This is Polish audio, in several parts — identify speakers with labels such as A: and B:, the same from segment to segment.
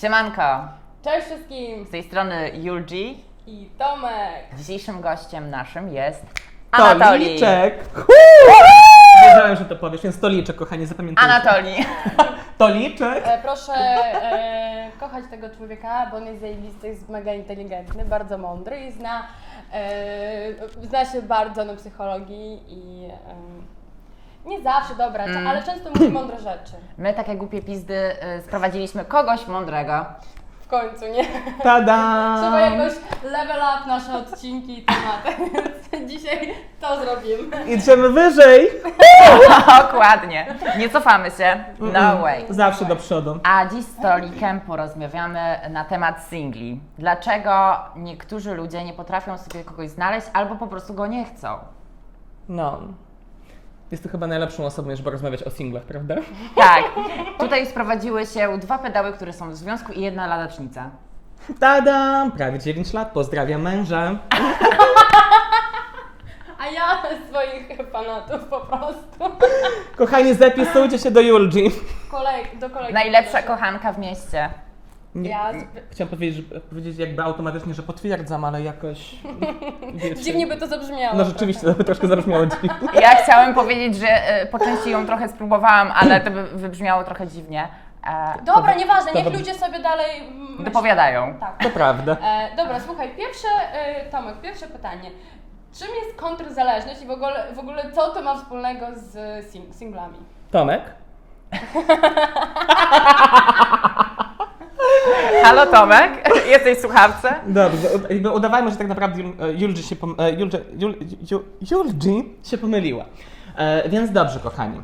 A: Siemanko,
B: Cześć wszystkim!
A: z tej strony Julgi.
B: I Tomek!
A: Dzisiejszym gościem naszym jest Anatolii.
C: Stoliczek! Huu! Wiedziałem, że to powiesz, więc stoliczek, kochanie, zapamiętajcie.
A: Anatolii.
C: Stoliczek!
B: E, proszę e, kochać tego człowieka, bo on jest zajebisty, jest mega inteligentny, bardzo mądry i zna, e, zna się bardzo na psychologii i e, nie zawsze dobra,
C: Mm.
B: cza- ale często mówi mądre rzeczy.
A: My takie głupie pizdy y, sprowadziliśmy kogoś mądrego.
B: W końcu, nie?
C: Tada!
B: Trzeba jakoś level up nasze odcinki i tematy, więc dzisiaj to zrobimy.
C: Idziemy wyżej!
A: Dokładnie. Nie cofamy się. No
C: Mm,
A: way.
C: Zawsze do przodu.
A: A dziś z Tolikiem porozmawiamy na temat singli. Dlaczego niektórzy ludzie nie potrafią sobie kogoś znaleźć albo po prostu go nie chcą?
C: No. Jest to chyba najlepszą osobą, żeby rozmawiać o singlach, prawda?
A: Tak. Tutaj sprowadziły się dwa pedały, które są w związku i jedna ladacznica.
C: Tada! Prawie 9 lat, pozdrawiam męża.
B: A ja swoich fanatów po prostu.
C: Kochani, zapisujcie się do Julgi.
B: Kolej, do kolejki.
A: Najlepsza kochanka w mieście.
C: Nie.
B: Ja
C: Chciałam powiedzieć, że, powiedzieć jakby automatycznie, że potwierdzam, ale jakoś... wiecie.
B: Dziwnie by to zabrzmiało.
C: No rzeczywiście, to by troszkę zabrzmiało dziwnie.
A: Ja chciałem powiedzieć, że y, po części ją trochę spróbowałam, ale to by wybrzmiało trochę dziwnie. E,
B: Dobra, nieważne,
C: to
B: niech
C: dobrze.
B: ludzie sobie dalej. mm, myślą.
A: dopowiadają.
B: Tak.
C: To prawda.
B: E, dobra, słuchaj, pierwsze, e, Tomek, pierwsze pytanie. Czym jest kontrzależność i w ogóle, w ogóle co to ma wspólnego z sing- singlami?
C: Tomek?
A: Halo Tomek, jesteś w słuchawce?
C: Dobrze, u- jakby udawajmy, że tak naprawdę e, Julgi się, pom- e, Julgi, Jul- Ju- Julgi się pomyliła. E, więc dobrze, kochani.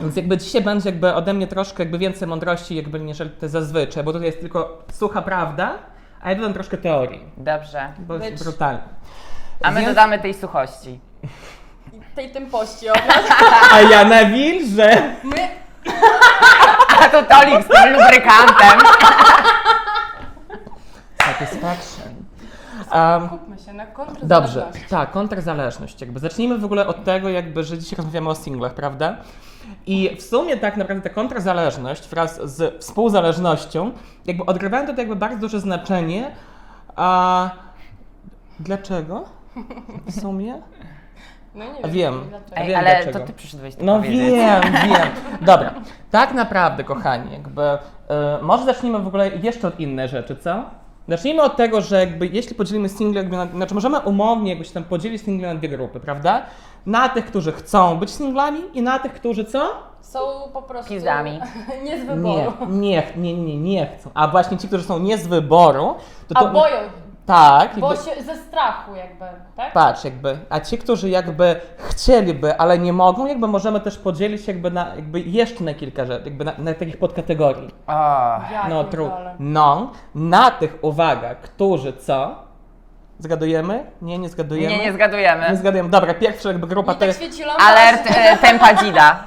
C: Więc jakby dzisiaj będzie jakby ode mnie troszkę jakby więcej mądrości, jakby niż te zazwyczaj, bo tutaj jest tylko sucha prawda, a ja dodam troszkę teorii,
A: Dobrze.
C: bo jest
B: Być.
C: brutalnie.
A: A my
C: Więc-
A: dodamy tej suchości.
B: I Tej tempości od nas.
C: A ja na wilże!
B: My,
A: A to Tolik z tym lubrykantem.
C: Satisfaction. Um,
B: kupmy się na kontrzależność.
C: Dobrze, tak, kontrzależność. Jakby zacznijmy w ogóle od tego, jakby, że dzisiaj rozmawiamy o singlach, prawda? I w sumie tak naprawdę ta kontrzależność wraz z współzależnością, jakby odgrywają tutaj jakby bardzo duże znaczenie. A dlaczego? W sumie?
B: No nie
C: A
B: wiem.
C: wiem.
B: dlaczego.
A: Ej,
C: Wiem
A: ale
C: dlaczego.
A: to ty przyszedłeś tu
C: No
A: powiedzieć.
C: wiem, wiem. Dobra, tak naprawdę, kochani, jakby, e, może zacznijmy w ogóle jeszcze od innej rzeczy, co? Zacznijmy od tego, że jakby jeśli podzielimy single, jakby na, znaczy możemy umownie jakby się tam podzielić single na dwie grupy, prawda? Na tych, którzy chcą być singlami i na tych, którzy co?
B: Są po prostu.
A: Pizdami.
B: Nie z
C: Nie, No
B: wyboru.
C: nie, nie, nie, nie chcą. A właśnie ci, którzy są nie z wyboru, to
B: A
C: to...
B: boją.
C: tak, jakby,
B: Bo się ze strachu jakby, tak?
C: patrz, jakby, a ci, którzy jakby chcieliby, ale nie mogą, jakby możemy też podzielić jakby na, jakby jeszcze na kilka rzeczy, jakby na, na takich podkategorii.
A: O,
B: Ja
C: No, tru.
B: pierdolę.
C: No, na tych, uwaga, którzy co? Zgadujemy? Nie, nie zgadujemy.
A: nie, nie zgadujemy.
C: Nie zgadujemy. Dobra, pierwsza jakby grupa
B: I
C: to
B: tak
C: jest...
B: świeci lampa,
A: Alert e, tempa dzida.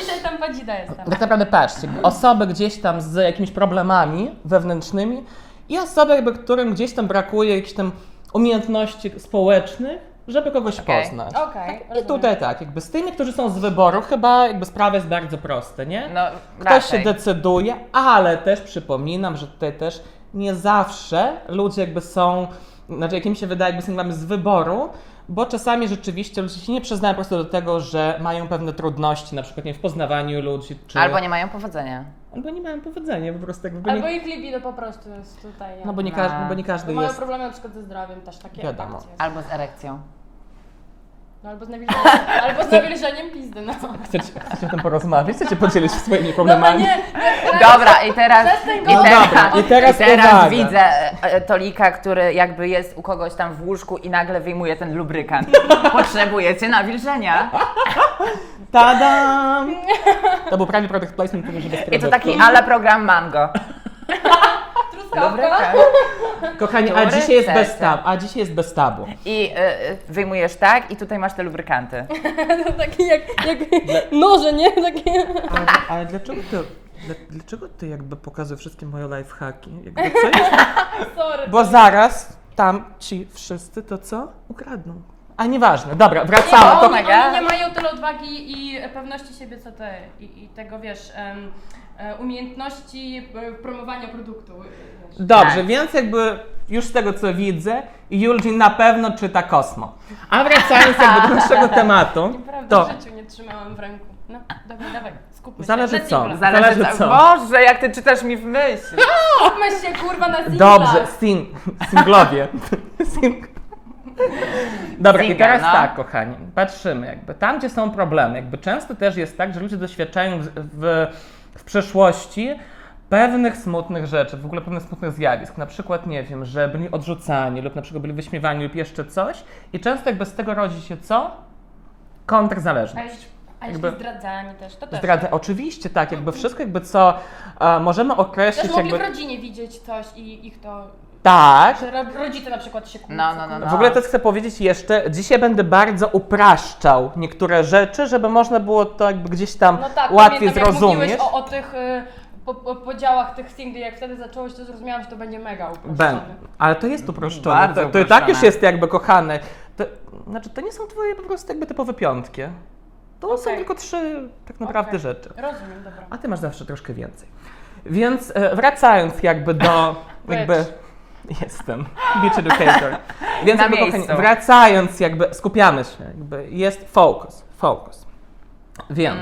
B: Dzisiaj tam padzida jestem.
C: Tak naprawdę patrzcie, jakby osoby gdzieś tam z jakimiś problemami wewnętrznymi i osoby, jakby, którym gdzieś tam brakuje jakichś tam umiejętności społecznych, żeby kogoś
A: Okej.
C: poznać.
B: Okej.
C: I tutaj tak, jakby z tymi, którzy są z wyboru, chyba jakby sprawa jest bardzo prosta, nie?
A: No,
C: Ktoś się
A: raczej.
C: decyduje, ale też przypominam, że tutaj też nie zawsze ludzie jakby są, znaczy jak im się wydaje, jakby singlami z wyboru, bo czasami rzeczywiście ludzie się nie przyznają po prostu do tego, że mają pewne trudności, na przykład nie wiem, w poznawaniu ludzi, czy...
A: Albo nie mają powodzenia.
C: albo nie mają powodzenia, po prostu jakby
B: Albo
C: nie...
B: ich libido po prostu jest tutaj.
C: No bo nie,
A: No.
C: każdy, bo nie
B: Bo
C: każdy
B: mają
C: jest...
B: problemy na przykład ze zdrowiem też, takie
C: Wiadomo.
B: akcje.
A: Albo z erekcją.
B: No, albo z nawilżeniem, albo z nawilżeniem pizdy, no.
C: Chcecie, chcecie o tym porozmawiać? Chcecie podzielić się swoimi
B: No bo
C: problemami?
B: nie,
A: Dobra, i teraz.
B: Przestań go-
A: I
B: No
A: teraz,
C: dobra, i teraz uwaga.
A: widzę e, e, Tolika, który jakby jest u kogoś tam w łóżku i nagle wyjmuje ten lubrykant. Potrzebujecie nawilżenia.
C: Tadam! To był prawie product placement, tylko że bez
A: I to
C: produktu.
A: taki ala program Mango.
B: truskawka.
C: Kochani, a
A: Który
C: dzisiaj jest
A: chcecie?
C: bez tabu, a dzisiaj jest bez tabu.
A: I e, e, wyjmujesz tak, i tutaj masz te lubrykanty.
B: To No, taki jak, jak noże, nie? Takie...
C: Ale, ale dlaczego ty, dla- dlaczego ty jakby pokazujesz wszystkie moje lifehacki? Jakby coś?
B: Sorry.
C: Bo zaraz tam ci wszyscy to co? Ukradną. A nieważne, dobra,
A: Nie,
C: wracamy.
A: o
C: To...
A: my-
B: Oni,
A: Omega.
B: oni nie mają tyle odwagi i pewności siebie co ty. I, i tego wiesz, em, e, umiejętności e, promowania produktu. Wiesz.
C: Dobrze,
A: Tak.
C: więc jakby już z tego co widzę, Eugene na pewno czyta Kosmo. A wracając jakby do
A: Tak.
C: naszego tematu,
D: Prawda,
C: to
D: w życiu nie trzymałam w ręku. No, dobra, dawaj, skupmy się.
C: Zależy
D: Na
C: co.
D: singlach.
C: Zależy
A: za-
C: co.
A: Boże, jak ty czytasz mi w myśl.
D: Skupmy się, kurwa, na singlach.
C: Dobrze, sing, singlowie. Sing... Dobra, i
A: Single,
C: teraz
A: no.
C: tak, kochani, patrzymy jakby tam, gdzie są problemy. Jakby często też jest tak, że ludzie doświadczają w, w, w przeszłości pewnych smutnych rzeczy, w ogóle pewnych smutnych zjawisk. Na przykład, nie wiem, że byli odrzucani lub na przykład byli wyśmiewani lub jeszcze coś i często jakby z tego rodzi się co?
D: A
C: Kontrzależność.
D: jeśli, a jeśli
C: Jakby-
D: zdradzani też, to też.
C: Zdradę, oczywiście tak, jakby wszystko jakby co e, możemy
D: Też
C: określić
D: mogli
C: jakby...
D: w rodzinie widzieć coś i ich to...
C: Tak,
D: Że ro- rodzice na przykład się kłócą.
A: No, no, no, no.
C: W ogóle też chcę powiedzieć jeszcze, dzisiaj będę bardzo upraszczał niektóre rzeczy, żeby można było to jakby gdzieś tam
D: No tak,
C: łatwiej
D: pamiętam,
C: zrozumieć.
D: jak mówiłeś o, o tych y, po, po, podziałach tych singli, jak wtedy zacząłeś, to zrozumiałam, że to będzie mega
C: Ben,
D: uproszczone.
C: ale to jest uproszczone.
A: Bardzo
C: to, to i tak już
A: uproszczone.
C: jest jakby kochane. To, znaczy, to nie są twoje po prostu jakby typowe piątki. To są
D: Okej.
C: tylko trzy tak naprawdę
D: Okej.
C: rzeczy.
D: Rozumiem, dobra.
C: A ty masz zawsze troszkę więcej. Więc e, wracając jakby do... jakby Jestem. Beach educator. Więc
A: Na
C: jakby,
A: miejscu.
C: kochani, wracając jakby, skupiamy się. Jakby jest focus. Focus. Więc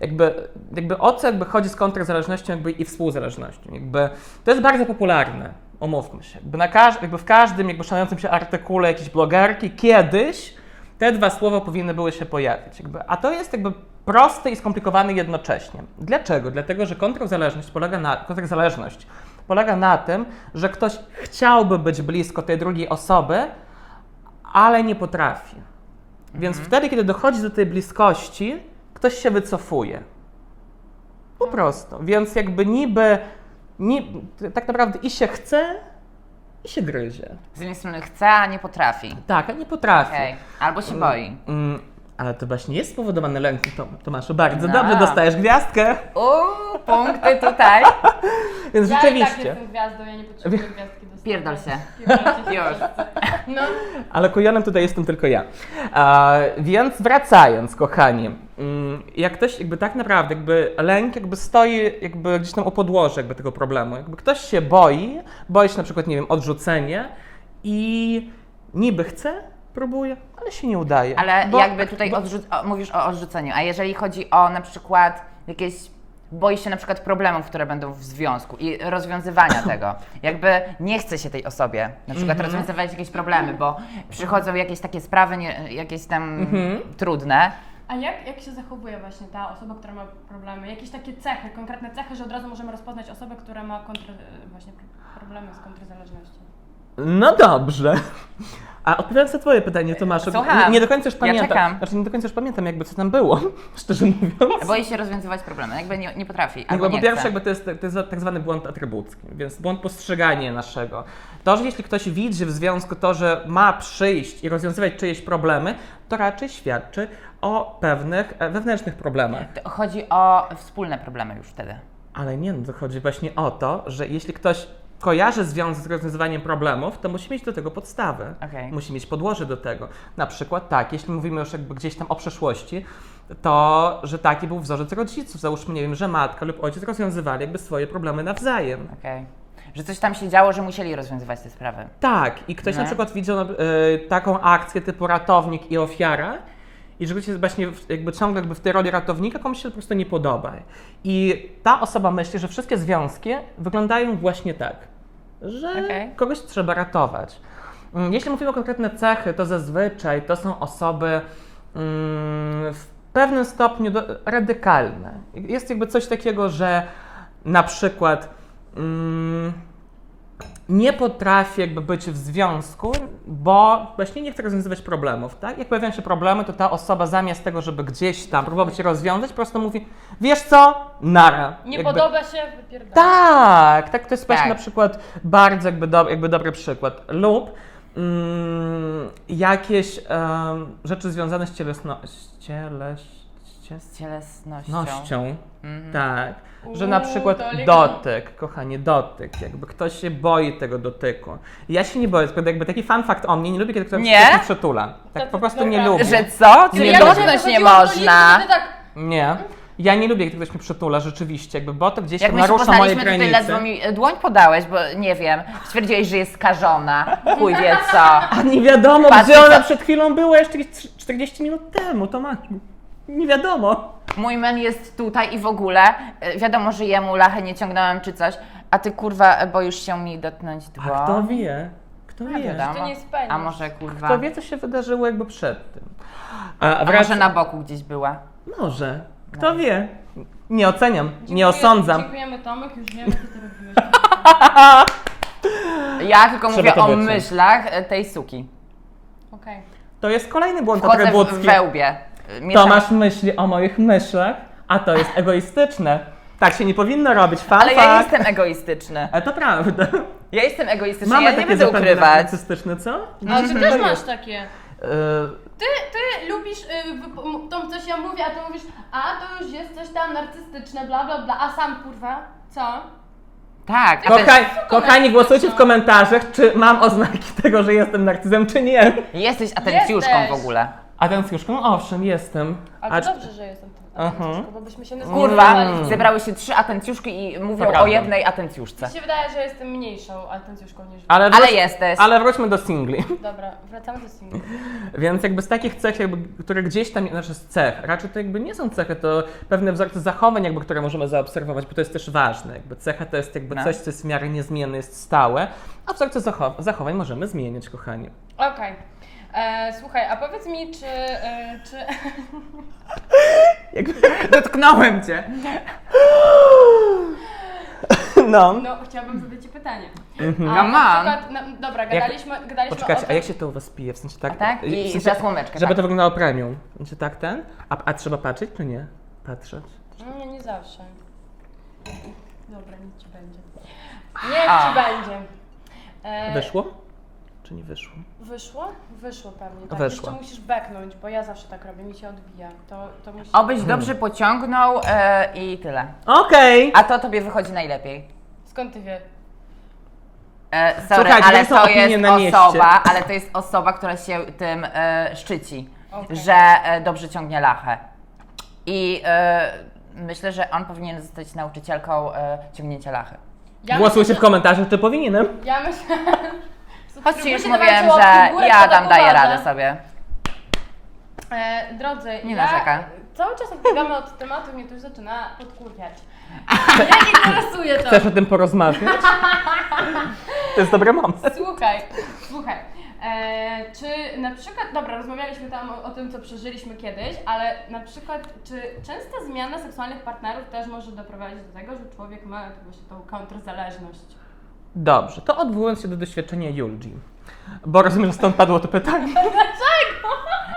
C: jakby, jakby o co jakby chodzi z kontrazależnością jakby i współzależnością. Jakby, to jest bardzo popularne, omówmy się. Jakby, na każ- jakby w każdym jakby szanującym się artykule jakiejś blogerki kiedyś te dwa słowa powinny były się pojawić. Jakby, a to jest jakby proste i skomplikowane jednocześnie. Dlaczego? Dlatego, że kontrazależność polega na, kontrazależność polega na tym, że ktoś chciałby być blisko tej drugiej osoby, ale nie potrafi. Więc wtedy, kiedy dochodzi do tej bliskości, ktoś się wycofuje. Po prostu. Więc jakby niby, ni- tak naprawdę i się chce, i się gryzie.
A: Z jednej strony chce, a nie potrafi.
C: Tak, a nie potrafi.
A: Okej. Albo się boi.
C: Mm, ale to właśnie jest spowodowane lękiem, Tom- Tomaszu. Bardzo
A: No.
C: dobrze, dostajesz gwiazdkę.
A: Uuu, punkty tutaj.
C: Więc
D: Ja i tak
C: rzeczywiście.
D: jestem gwiazdą, ja nie potrzebuję gwiazdki do
A: Pierdol się.
D: Pierdol się.
A: Już.
D: No,
C: Ale kujonem tutaj jestem tylko ja. A, więc wracając, kochani, mm, jak ktoś jakby tak naprawdę, jakby lęk jakby stoi jakby gdzieś tam o podłożu jakby tego problemu. Jakby ktoś się boi, boi się na przykład, nie wiem, odrzucenie i niby chce, próbuje, ale się nie udaje.
A: Ale
C: Bo-
A: jakby tutaj odrzu- o, mówisz o odrzuceniu, a jeżeli chodzi o na przykład jakieś boi się na przykład problemów, które będą w związku i rozwiązywania tego. Jakby nie chce się tej osobie na przykład
C: Mhm.
A: rozwiązywać jakieś problemy, bo przychodzą jakieś takie sprawy, nie, jakieś tam
C: Mhm.
A: trudne.
B: A jak, jak się zachowuje właśnie ta osoba, która ma problemy? Jakieś takie cechy, konkretne cechy, że od razu możemy rozpoznać osobę, która ma kontr, właśnie pro- problemy z kontryzależnością?
C: No dobrze. A odpowiadając na twoje pytanie, Tomaszu,
A: Słucham.
C: nie, nie do końca już
A: Ja
C: pamiętam.
A: czekam.
C: Znaczy nie do końca już pamiętam jakby co tam było, szczerze mówiąc.
A: Boi się rozwiązywać problemy, jakby nie, nie potrafi,
C: Jakby
A: albo nie
C: No po pierwsze,
A: chce.
C: jakby to jest, to jest tak zwany błąd atrybucki, więc błąd postrzegania naszego. To, że jeśli ktoś widzi w związku to, że ma przyjść i rozwiązywać czyjeś problemy, to raczej świadczy o pewnych e, wewnętrznych problemach.
A: To Chodzi o wspólne problemy już wtedy.
C: Ale nie, no, to chodzi właśnie o to, że jeśli ktoś kojarzy związek z rozwiązywaniem problemów, to musi mieć do tego podstawę.
A: Okej.
C: Musi mieć podłoże do tego. Na przykład tak, jeśli mówimy już jakby gdzieś tam o przeszłości, to że taki był wzorzec rodziców. Załóżmy, nie wiem, że matka lub ojciec rozwiązywali jakby swoje problemy nawzajem.
A: Okej. Że coś tam się działo, że musieli rozwiązywać te sprawy.
C: Tak, i ktoś na
A: No.
C: przykład widział e, taką akcję typu ratownik i ofiara, i że ktoś jest właśnie w, jakby ciągle jakby w tej roli ratownika, komuś się po prostu nie podoba. I ta osoba myśli, że wszystkie związki wyglądają właśnie tak, że
A: Okej.
C: kogoś trzeba ratować. Mm, Jeśli mówimy o konkretne cechy, to zazwyczaj to są osoby mm, w pewnym stopniu do, radykalne. Jest jakby coś takiego, że na przykład. Mm, nie potrafi jakby być w związku, bo właśnie nie chce rozwiązywać problemów, tak? Jak pojawiają się problemy, to ta osoba zamiast tego, żeby gdzieś tam próbować je rozwiązać, po prostu mówi, wiesz co, nara.
D: nie
C: Jakby-
D: podoba się, wypierdolę.
C: tak, tak, to jest właśnie
A: Tak.
C: na przykład bardzo jakby, do, jakby dobry przykład. Lub mm, jakieś em, rzeczy związane z cielesno- z cieleś, Cielesności?
A: Z cielesnością.
C: Nością.
A: Mhm.
C: Tak. Że
B: Uuu,
C: na przykład
B: to lekko.
C: dotyk, kochanie, dotyk. Jakby ktoś się boi tego dotyku. Ja się nie boję, tylko jakby taki fun fact o mnie, nie lubię, kiedy ktoś
A: Nie?
C: mnie przytula. Tak
B: To-
C: po prostu nie
B: dobra.
C: lubię.
A: Że co?
C: Nie
A: Czyli
C: wiem.
A: dotknąć nie można.
B: Ty tak,
C: Nie. Ja nie lubię, kiedy ktoś mnie przytula, rzeczywiście, jakby, bo to gdzieś
A: Jak
C: tam
A: my się
C: narusza moje
A: poznaliśmy, to ty
C: granice.
A: ledwo mi e, dłoń podałeś, bo nie wiem, stwierdziłeś, że jest skażona, chuj wie co.
C: A nie wiadomo,
A: Patrz,
C: gdzie ona
A: co-
C: przed chwilą była jeszcze jakieś trzy- 40 minut temu, to ma... Nie wiadomo.
A: Mój men jest tutaj i w ogóle, e, wiadomo, że jemu lachę nie ciągnąłem czy coś, a ty kurwa e, boisz się mi dotknąć
C: A
A: dłoń.
C: kto wie? Kto
A: A,
C: wie?
A: wiadomo.
B: To nie spędzisz.
A: A może kurwa,
C: Kto wie, co się wydarzyło jakby przed tym. A,
A: a może na boku gdzieś była.
C: Może. Kto
A: No
C: wie? Nie oceniam, nie
E: Dziękuję-
C: osądzam.
E: Dziękujemy Tomek, już wiemy, co ty robiłeś.
A: Ja tylko
C: Trzeba
A: mówię
C: to
A: o
C: wyciąć.
A: myślach e, tej suki.
E: Okej.
C: To jest kolejny błąd
A: Wchodzę w
C: atrybucki.
A: wełbie. E, mieszam-
C: Tomasz myśli o moich myślach, a to jest egoistyczne. Tak się nie powinno robić, fun
A: Ale ja
C: fact.
A: jestem egoistyczny.
C: A to prawda.
A: Ja jestem egoistyczny,
C: Mamy
A: ja nie
C: takie
A: będę
C: zapędy
A: ukrywać. No.
C: narcystyczne, co?
E: Ale ty też masz takie.
C: Yy,
E: Ty, ty lubisz, y, wypo- m- to coś ja mówię, a ty mówisz, a to już jest coś tam narcystyczne, bla bla bla, a sam kurwa, co?
A: Tak, a ty
C: kochani, kochani, głosujcie w komentarzach, czy mam oznaki tego, że jestem narcyzem, czy nie.
A: jesteś atencjuszką w
B: Jesteś.
A: ogóle.
C: A tęskniuszką? Owszem, jestem.
B: ale to dobrze, że jestem tam,
C: Mhm.
B: bo byśmy się nie
A: Kurwa, mm.
B: zgadzali.
E: Mhm.
A: zebrały się trzy atencjuszki i mówią
C: prawda.
A: o jednej atencjuszce.
B: Mi się wydaje, że jestem mniejszą atencjuszką niż
C: Ale,
A: Ale
C: wróć-
A: jesteś.
C: ale wróćmy do singli.
B: Dobra, wracamy do singla.
C: Więc jakby z takich cech, jakby, które gdzieś tam, znaczy z cech, raczej to jakby nie są cechy, to pewne wzorce zachowań, jakby, które możemy zaobserwować, bo to jest też ważne. Jakby cecha to jest jakby
A: No.
C: coś, co jest w miarę niezmienne, jest stałe, a wzorce zachow- zachowań możemy zmieniać, kochani.
B: Okej. E, Słuchaj, a powiedz mi, czy, e, czy...
C: Jakby...
A: Dotknąłem cię.
C: No.
E: No, chciałabym zadać ci pytanie.
B: A,
A: No mam.
B: Na przykład, na, dobra, gadaliśmy, gadaliśmy o
C: Poczekajcie, a
B: tym...
C: jak się to u was pije? W sensie tak?
A: A tak? I
C: w sensie,
A: za słomeczkę,
C: Żeby
A: tak.
C: to wyglądało premium. Znaczy tak ten? A, a trzeba patrzeć, czy nie? Patrzeć.
B: Nie, No, nie zawsze.
E: Dobra, nic ci będzie.
B: Niech
A: A.
B: ci będzie. E,
C: Wyszło? Czy nie wyszło?
B: Wyszło? Wyszło pewnie, tak.
C: Wyszło.
B: Jeszcze musisz beknąć, bo ja zawsze tak robię, mi się odbija. To, to musi...
A: Obyś dobrze pociągnął e, i tyle.
C: Okej!
A: A to tobie wychodzi najlepiej.
B: Skąd ty wiesz?
A: E, sorry,
C: Słuchajcie,
A: ale
C: to są
A: to
C: opinie
A: jest
C: na mieście.
A: osoba, ale to jest osoba, która się tym e, szczyci,
B: Okej.
A: że e, dobrze ciągnie lachę. I e, myślę, że on powinien zostać nauczycielką e, ciągnięcia lachy.
B: Ja Tak.
C: Głosujcie w
B: myślę,
C: komentarzach, czy powinienem.
B: że- Ja myślę...
A: Choć ci już
B: Będzie
A: mówiłem,
B: dawała
A: że
B: łapki w górę,
A: ja
B: to
A: dam
B: tak
A: daję
B: uważam.
A: radę sobie.
B: E, drodzy,
A: Nie
B: ja
A: narzekam.
B: cały czas odbiegamy od tematu, mnie to już zaczyna podkurwiać.
E: Interesuje to.
C: Chcesz o tym porozmawiać? To jest dobry moment.
B: Słuchaj, słuchaj. E, czy na przykład, dobra, rozmawialiśmy tam o, o tym, co przeżyliśmy kiedyś, ale na przykład, czy częsta zmiana seksualnych partnerów też może doprowadzić do tego, że człowiek ma właśnie tą kontrzależność?
C: Dobrze, to odwołując się do doświadczenia Julgi. Bo rozumiem, że stąd padło to pytanie.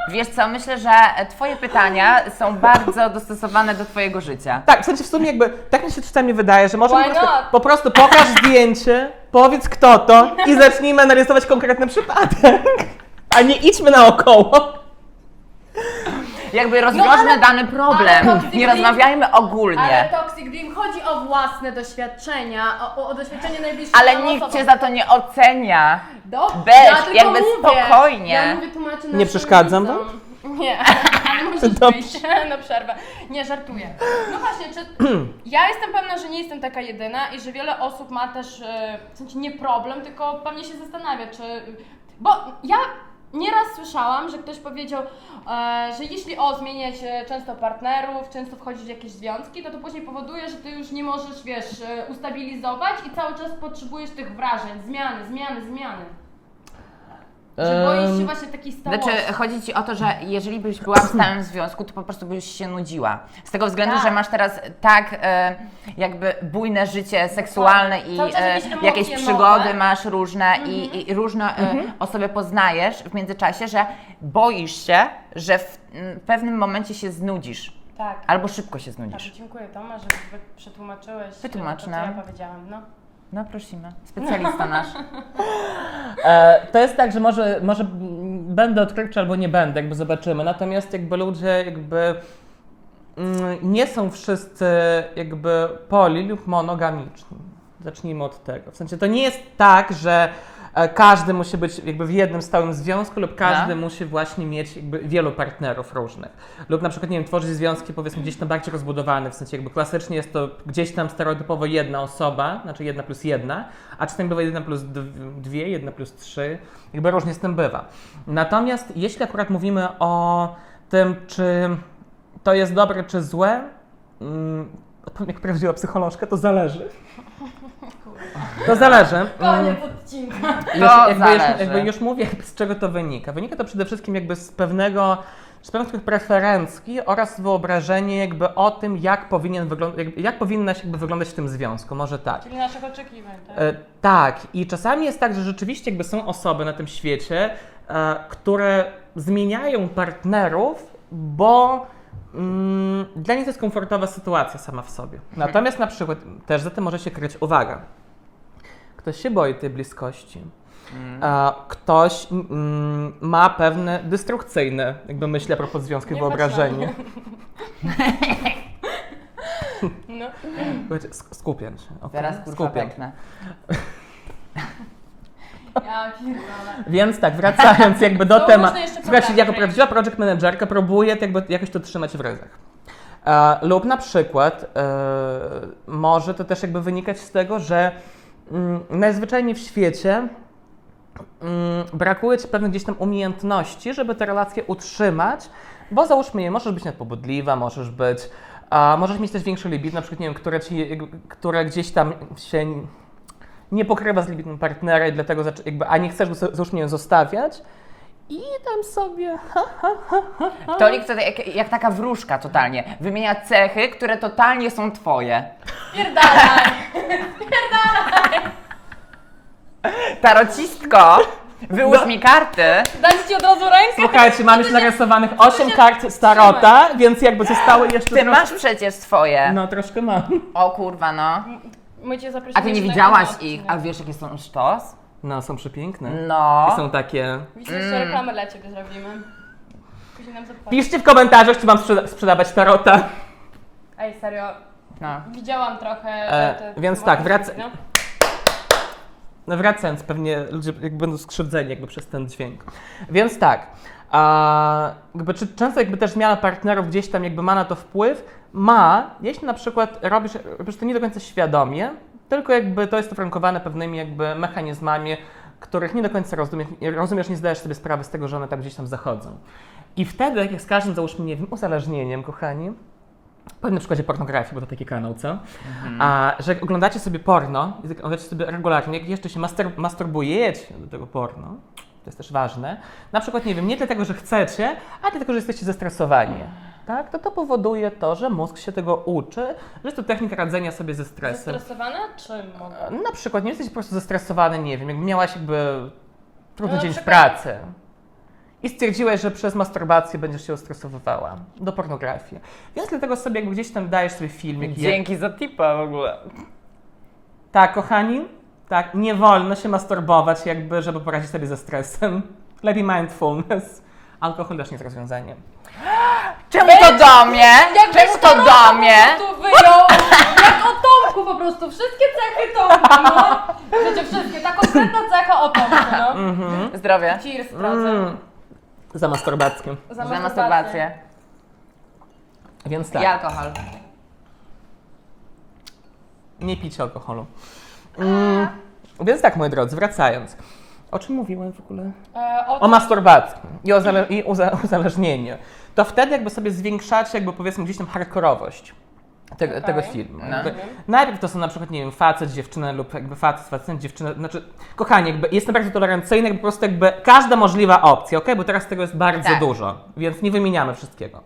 A: Wiesz co, myślę, że twoje pytania są bardzo dostosowane do twojego życia.
C: Tak, w sensie w sumie jakby, tak mi się czasami wydaje, że może po
B: Why
C: prostu,
B: not?
C: po prostu pokaż zdjęcie, powiedz kto to i zacznijmy narysować konkretny przypadek. A nie idźmy naokoło.
B: No,
A: Jakby rozwiążmy
E: ale-
A: dany problem,
E: ale to-
A: nie rozmawiajmy
E: Ale
A: ogólnie.
E: Toxic Dream chodzi o własne doświadczenia, o, o, o doświadczenie najbliższego
A: Ale nikt cię
E: cię
A: za to nie ocenia.
E: Dobrze,
A: Bez,
E: ja tylko
A: jakby
E: mówię.
A: spokojnie.
E: Ja mówię, tłumaczę naszym
C: przeszkadzam
E: widzom.
B: Nie, ale możesz
C: Dobrze.
B: wyjść na przerwę. No, Nie, żartuję. No właśnie, czy... ja jestem pewna, że nie jestem taka jedyna i że wiele osób ma też, e, w sensie nie problem, tylko pewnie się zastanawia, czy... Bo ja nieraz słyszałam, że ktoś powiedział, e, że jeśli o, zmienia się często partnerów, często wchodzisz w jakieś związki, to to później powoduje, że ty już nie możesz, wiesz, e, ustabilizować i cały czas potrzebujesz tych wrażeń, zmiany, zmiany, zmiany. Że boisz się
C: Em,
B: No właśnie takiej stałości.
A: Znaczy, chodzi ci o to, że jeżeli byś była w stałym związku, to po prostu byś się nudziła. Z tego względu,
B: Tak.
A: że masz teraz tak e, jakby bujne życie seksualne i
B: Tak. Cały czas
A: e,
B: jakieś emocje Mhm.
A: jakieś
B: nowe.
A: przygody masz różne i, i różne e, osoby poznajesz w międzyczasie, że boisz się, że w m, pewnym momencie się znudzisz.
B: Tak.
A: Albo szybko się
B: Tak,
A: znudzisz.
B: dziękuję Toma, że wy- przetłumaczyłeś
A: Wytłumacz
B: to, co
A: nam.
B: ja powiedziałam. No.
A: No prosimy. Specjalista nasz.
C: E, to jest tak, że może, może mm, będę odkrywczy albo nie będę, jakby zobaczymy. Natomiast jakby ludzie jakby mm, nie są wszyscy jakby poli lub monogamiczni. Zacznijmy od tego. W sensie to nie jest tak, że e, każdy musi być jakby w jednym stałym związku lub każdy
A: No.
C: musi właśnie mieć jakby wielu partnerów różnych. Lub na przykład, nie wiem, tworzyć związki powiedzmy gdzieś tam bardziej rozbudowane, w sensie jakby klasycznie jest to gdzieś tam stereotypowo jedna osoba, znaczy jedna plus jedna, a czasem bywa jedna plus dw- dwie, jedna plus trzy, jakby różnie z tym bywa. Natomiast jeśli akurat mówimy o tym, czy to jest dobre czy złe, mm, odpowiem jak prawdziwa psycholożka, to zależy. To zależy. Mm,
B: Koniec odcinka.
C: Już,
A: To
C: jakby, już,
A: zależy.
C: jakby już mówię, jakby z czego to wynika. Wynika to przede wszystkim jakby z pewnego, z pewnych preferencji oraz wyobrażenie jakby o tym, jak powinien wyglądać, jak, jak powinnaś jakby wyglądać w tym związku, może tak.
B: Czyli naszych oczekiwań, tak?
C: E, tak, i czasami jest tak, że rzeczywiście jakby są osoby na tym świecie, e, które zmieniają partnerów, bo mm, dla nich to jest komfortowa sytuacja sama w sobie. Natomiast na przykład też za tym może się kryć uwaga. Ktoś się boi tej bliskości. E, ktoś mm, ma pewne destrukcyjne, jakby myślę, a propos związku i
B: Nie
C: wyobrażenie.
B: No.
C: Słuchajcie, sk- Skupiam się. okej?
A: Teraz kurwa
C: Skupiam.
A: pęknę.
B: Ja pierdolę.
C: Więc tak, wracając jakby do
B: Są
C: tematu.
B: różne jeszcze
C: Słuchajcie,
B: programy.
C: jako prawdziwa project managerka próbuję to jakby jakoś to trzymać w ryzach. E, lub na przykład e, może to też jakby wynikać z tego, że mm, najzwyczajniej w świecie mm, brakuje ci pewnych gdzieś tam umiejętności, żeby te relacje utrzymać, bo załóżmy je, możesz być nadpobudliwa, możesz być, a możesz mieć też większy limit, na przykład nie wiem, które, ci, które gdzieś tam się nie pokrywa z limitem partnera i dlatego, zaczę- jakby, a nie chcesz go, z- załóżmy, ją zostawiać i tam sobie, ha,
A: Tolik to jak, jak taka wróżka totalnie. Wymienia cechy, które totalnie są twoje.
B: Pierdalaj!
A: Tarocistko,
C: No.
A: wyłóż mi karty.
B: Dać ci od razu rękę?
C: Słuchajcie, mam już narysowanych 8 kart starota, więc jakby zostały jeszcze...
A: Ty
C: trosz-
A: masz przecież swoje.
C: No, troszkę mam.
A: O kurwa no.
B: My cię zaprosimy.
A: A ty nie
B: na
A: widziałaś
B: kolejny
A: ich, a
B: odcinek.
A: wiesz jakie są sztos?
C: No, są przepiękne. I
A: No.
C: są takie...
B: Myślę, że reklamę dla ciebie zrobimy. Później nam zapłaci.
C: Piszcie w komentarzach, czy mam sprzeda- sprzedawać tarota.
B: Ej, serio,
A: no.
B: widziałam trochę. te-
C: E,
B: te
C: więc tak,
B: wątki,
C: wrac-
B: no.
C: No wracając, pewnie ludzie jakby będą skrzywdzeni jakby przez ten dźwięk. Więc tak, a, jakby, czy, często jakby też zmiana partnerów gdzieś tam jakby ma na to wpływ? Ma, jeśli na przykład robisz, robisz to nie do końca świadomie, tylko jakby to jest ofrankowane pewnymi jakby mechanizmami, których nie do końca rozumiesz, rozumiesz, nie zdajesz sobie sprawy z tego, że one tam gdzieś tam zachodzą. I wtedy, jak z każdym, załóżmy, nie wiem, uzależnieniem, kochani, Powiem na przykładzie pornografii, bo to taki kanał, co? A, że jak oglądacie sobie porno, i tak oglądacie sobie regularnie, jak jeszcze się master, masturbujecie do tego porno, to jest też ważne, na przykład, nie wiem, nie dlatego, że chcecie, a dlatego, że jesteście zestresowani, tak? To to powoduje to, że mózg się tego uczy, że jest to technika radzenia sobie ze stresem.
B: Zestresowana czy mogę?
C: Na przykład, nie jesteś po prostu zestresowany, nie wiem, jakby miałaś jakby trudny
B: No,
C: dzień w
B: czekaj.
C: pracy. I stwierdziłeś, że przez masturbację będziesz się ostresowywała do pornografii. Więc dlatego sobie jakby gdzieś tam dajesz sobie filmik. i-
A: Dzięki za tipa w ogóle.
C: Tak, kochani, tak, nie wolno się masturbować jakby, żeby poradzić sobie ze stresem. Lepiej mindfulness. Alkohol też nie jest rozwiązaniem.
A: Czemu to do mnie?
B: Jakbyś
A: Czemu to
B: Tomka
A: do mnie?
B: Po prostu wyjął, jak o Tomku po prostu, wszystkie cechy Tomku, no. Przecież wszystkie, ta konkretna cecha o Tomku, no.
A: Mhm. Zdrowie.
B: Cheers,
C: Mm.
B: drodzy.
C: Za masturbacją.
A: Za masturbację.
C: Więc
A: I
C: tak,
A: alkohol.
C: nie picie alkoholu. Mm. Więc tak, moi drodzy, wracając. O czym mówiłem w ogóle?
B: E, o,
C: o masturbacji i, o zale- i uza- uzależnienie, to wtedy jakby sobie zwiększacie jakby powiedzmy gdzieś tam hardkorowość te-
B: Okej.
C: tego filmu.
A: No.
C: Jakby Najpierw to są na przykład, nie wiem, facet, dziewczyna lub jakby facet, facet, dziewczyna, znaczy, kochani, jakby jestem bardzo tolerancyjny, jakby po prostu jakby każda możliwa opcja, ok? Bo teraz tego jest bardzo
A: Tak.
C: dużo, więc nie wymieniamy wszystkiego.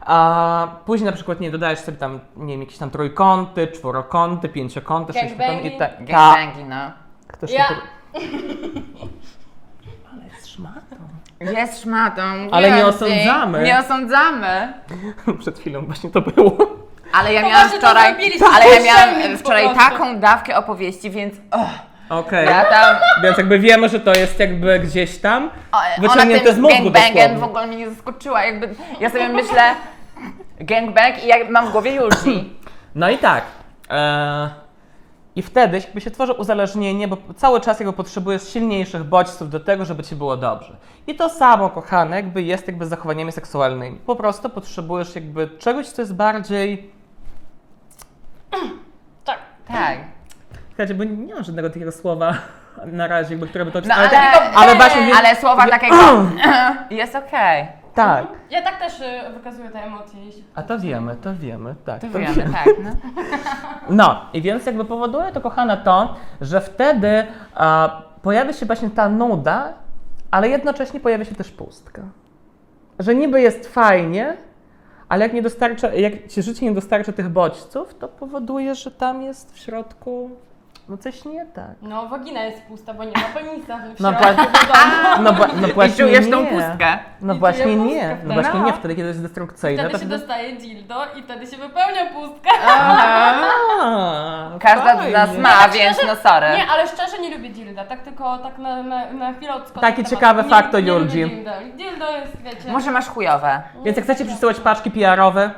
C: A później na przykład, nie, dodajesz sobie tam, nie wiem, jakieś tam trójkąty, czworokąty, pięciokąty,
B: Gangbangi.
C: sześciokąty i tak.
A: Gangbangi, no.
C: Ktoś
B: Ja.
C: się tu- Ale jest szmatą.
A: Jest szmatą.
C: Ale nie
A: wiem,
C: osądzamy.
A: Nie osądzamy.
C: Przed chwilą właśnie to było.
A: Ale ja
B: No
A: miałam
B: właśnie to
A: wczoraj,
B: zrobiliśmy.
A: ale ja
B: Puszczaj
A: miałam
B: mi
A: wczoraj
B: po prostu.
A: taką dawkę opowieści, więc och,
C: Okej.
A: ja tam
C: Więc jakby wiemy, że to jest jakby gdzieś tam
A: o, ona
C: wyciągnięte z
A: tym
C: mózgu
A: gangbangiem w
C: dosłownie.
A: ogóle mnie nie zaskoczyła, jakby ja sobie myślę, gangbang i ja mam w głowie Julci.
C: No i tak. E, I wtedy jakby się tworzy uzależnienie, bo cały czas jakby potrzebujesz silniejszych bodźców do tego, żeby ci było dobrze. I to samo, kochane, jakby jest jakby z zachowaniami seksualnymi. Po prostu potrzebujesz jakby czegoś, co jest bardziej...
A: Tak.
C: Słuchajcie, bo nie mam żadnego takiego słowa na razie, jakby, które by to...
A: No ale,
C: tak- ale właśnie... więc-
A: ale słowa
C: że-
A: takiego jest okej.
C: Tak.
A: Mhm.
B: Ja tak też y, wykazuję te emocje. jeśli-
C: A to wiemy, to wiemy, tak.
A: To wiemy, tak. No.
C: No, i więc jakby powoduje to, kochana, to, że wtedy a, pojawia się właśnie ta nuda, ale jednocześnie pojawia się też pustka. Że niby jest fajnie, ale jak, nie dostarcza, jak ci życie nie dostarcza tych bodźców, to powoduje, że tam jest w środku no coś nie tak.
B: No, wagina jest pusta, bo nie ma penisa. w
C: No,
B: środku.
C: bo, no, bo, no
A: I
C: właśnie
A: czujesz
C: nie.
A: tą pustkę.
C: No
B: I
C: właśnie
B: czuję pustkę
C: nie. No
B: wtedy.
C: właśnie nie,
B: No.
C: wtedy kiedy jest destrukcyjne.
B: Wtedy
C: to
B: się
C: wtedy-
B: dostaje dildo i wtedy się wypełnia pustka.
C: A,
A: Każda z nas
C: fajnie.
A: ma, więc no sorry.
B: Znaczy, Nie, ale szczerze nie lubię dilda, tak tylko tak na, na, na chwilę odskoczę.
C: Taki
B: od tematu.
C: ciekawy
B: nie,
C: fakt o
B: nie lubię
C: Julgi.
B: Dilda. dildo jest, wiecie...
A: Może masz chujowe.
C: Więc jak chcecie przysyłać paczki PR-owe,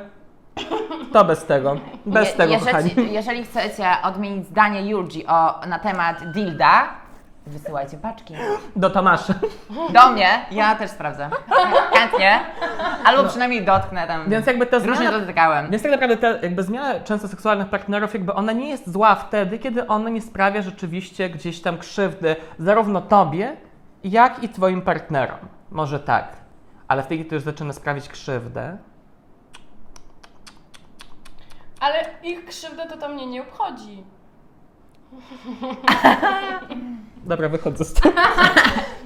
C: to bez tego. Bez
A: Je-
C: tego,
A: jeżeli,
C: kochani.
A: jeżeli chcecie odmienić zdanie Julgi o, na temat dilda, wysyłajcie paczki.
C: Do Tomasza.
A: Do mnie, ja też sprawdzę. Chętnie. Albo przynajmniej dotknę tam.
C: No. Więc jakby ta
A: Różnie
C: zmiana...
A: dotykałem.
C: Więc tak naprawdę ta jakby zmiana często seksualnych partnerów, jakby ona nie jest zła wtedy, kiedy ona nie sprawia rzeczywiście gdzieś tam krzywdy zarówno tobie, jak i twoim partnerom. Może tak. Ale wtedy, kiedy już zaczyna sprawić krzywdę,
B: Ale ich krzywda to to mnie nie obchodzi.
C: dobra, wychodzę z tego.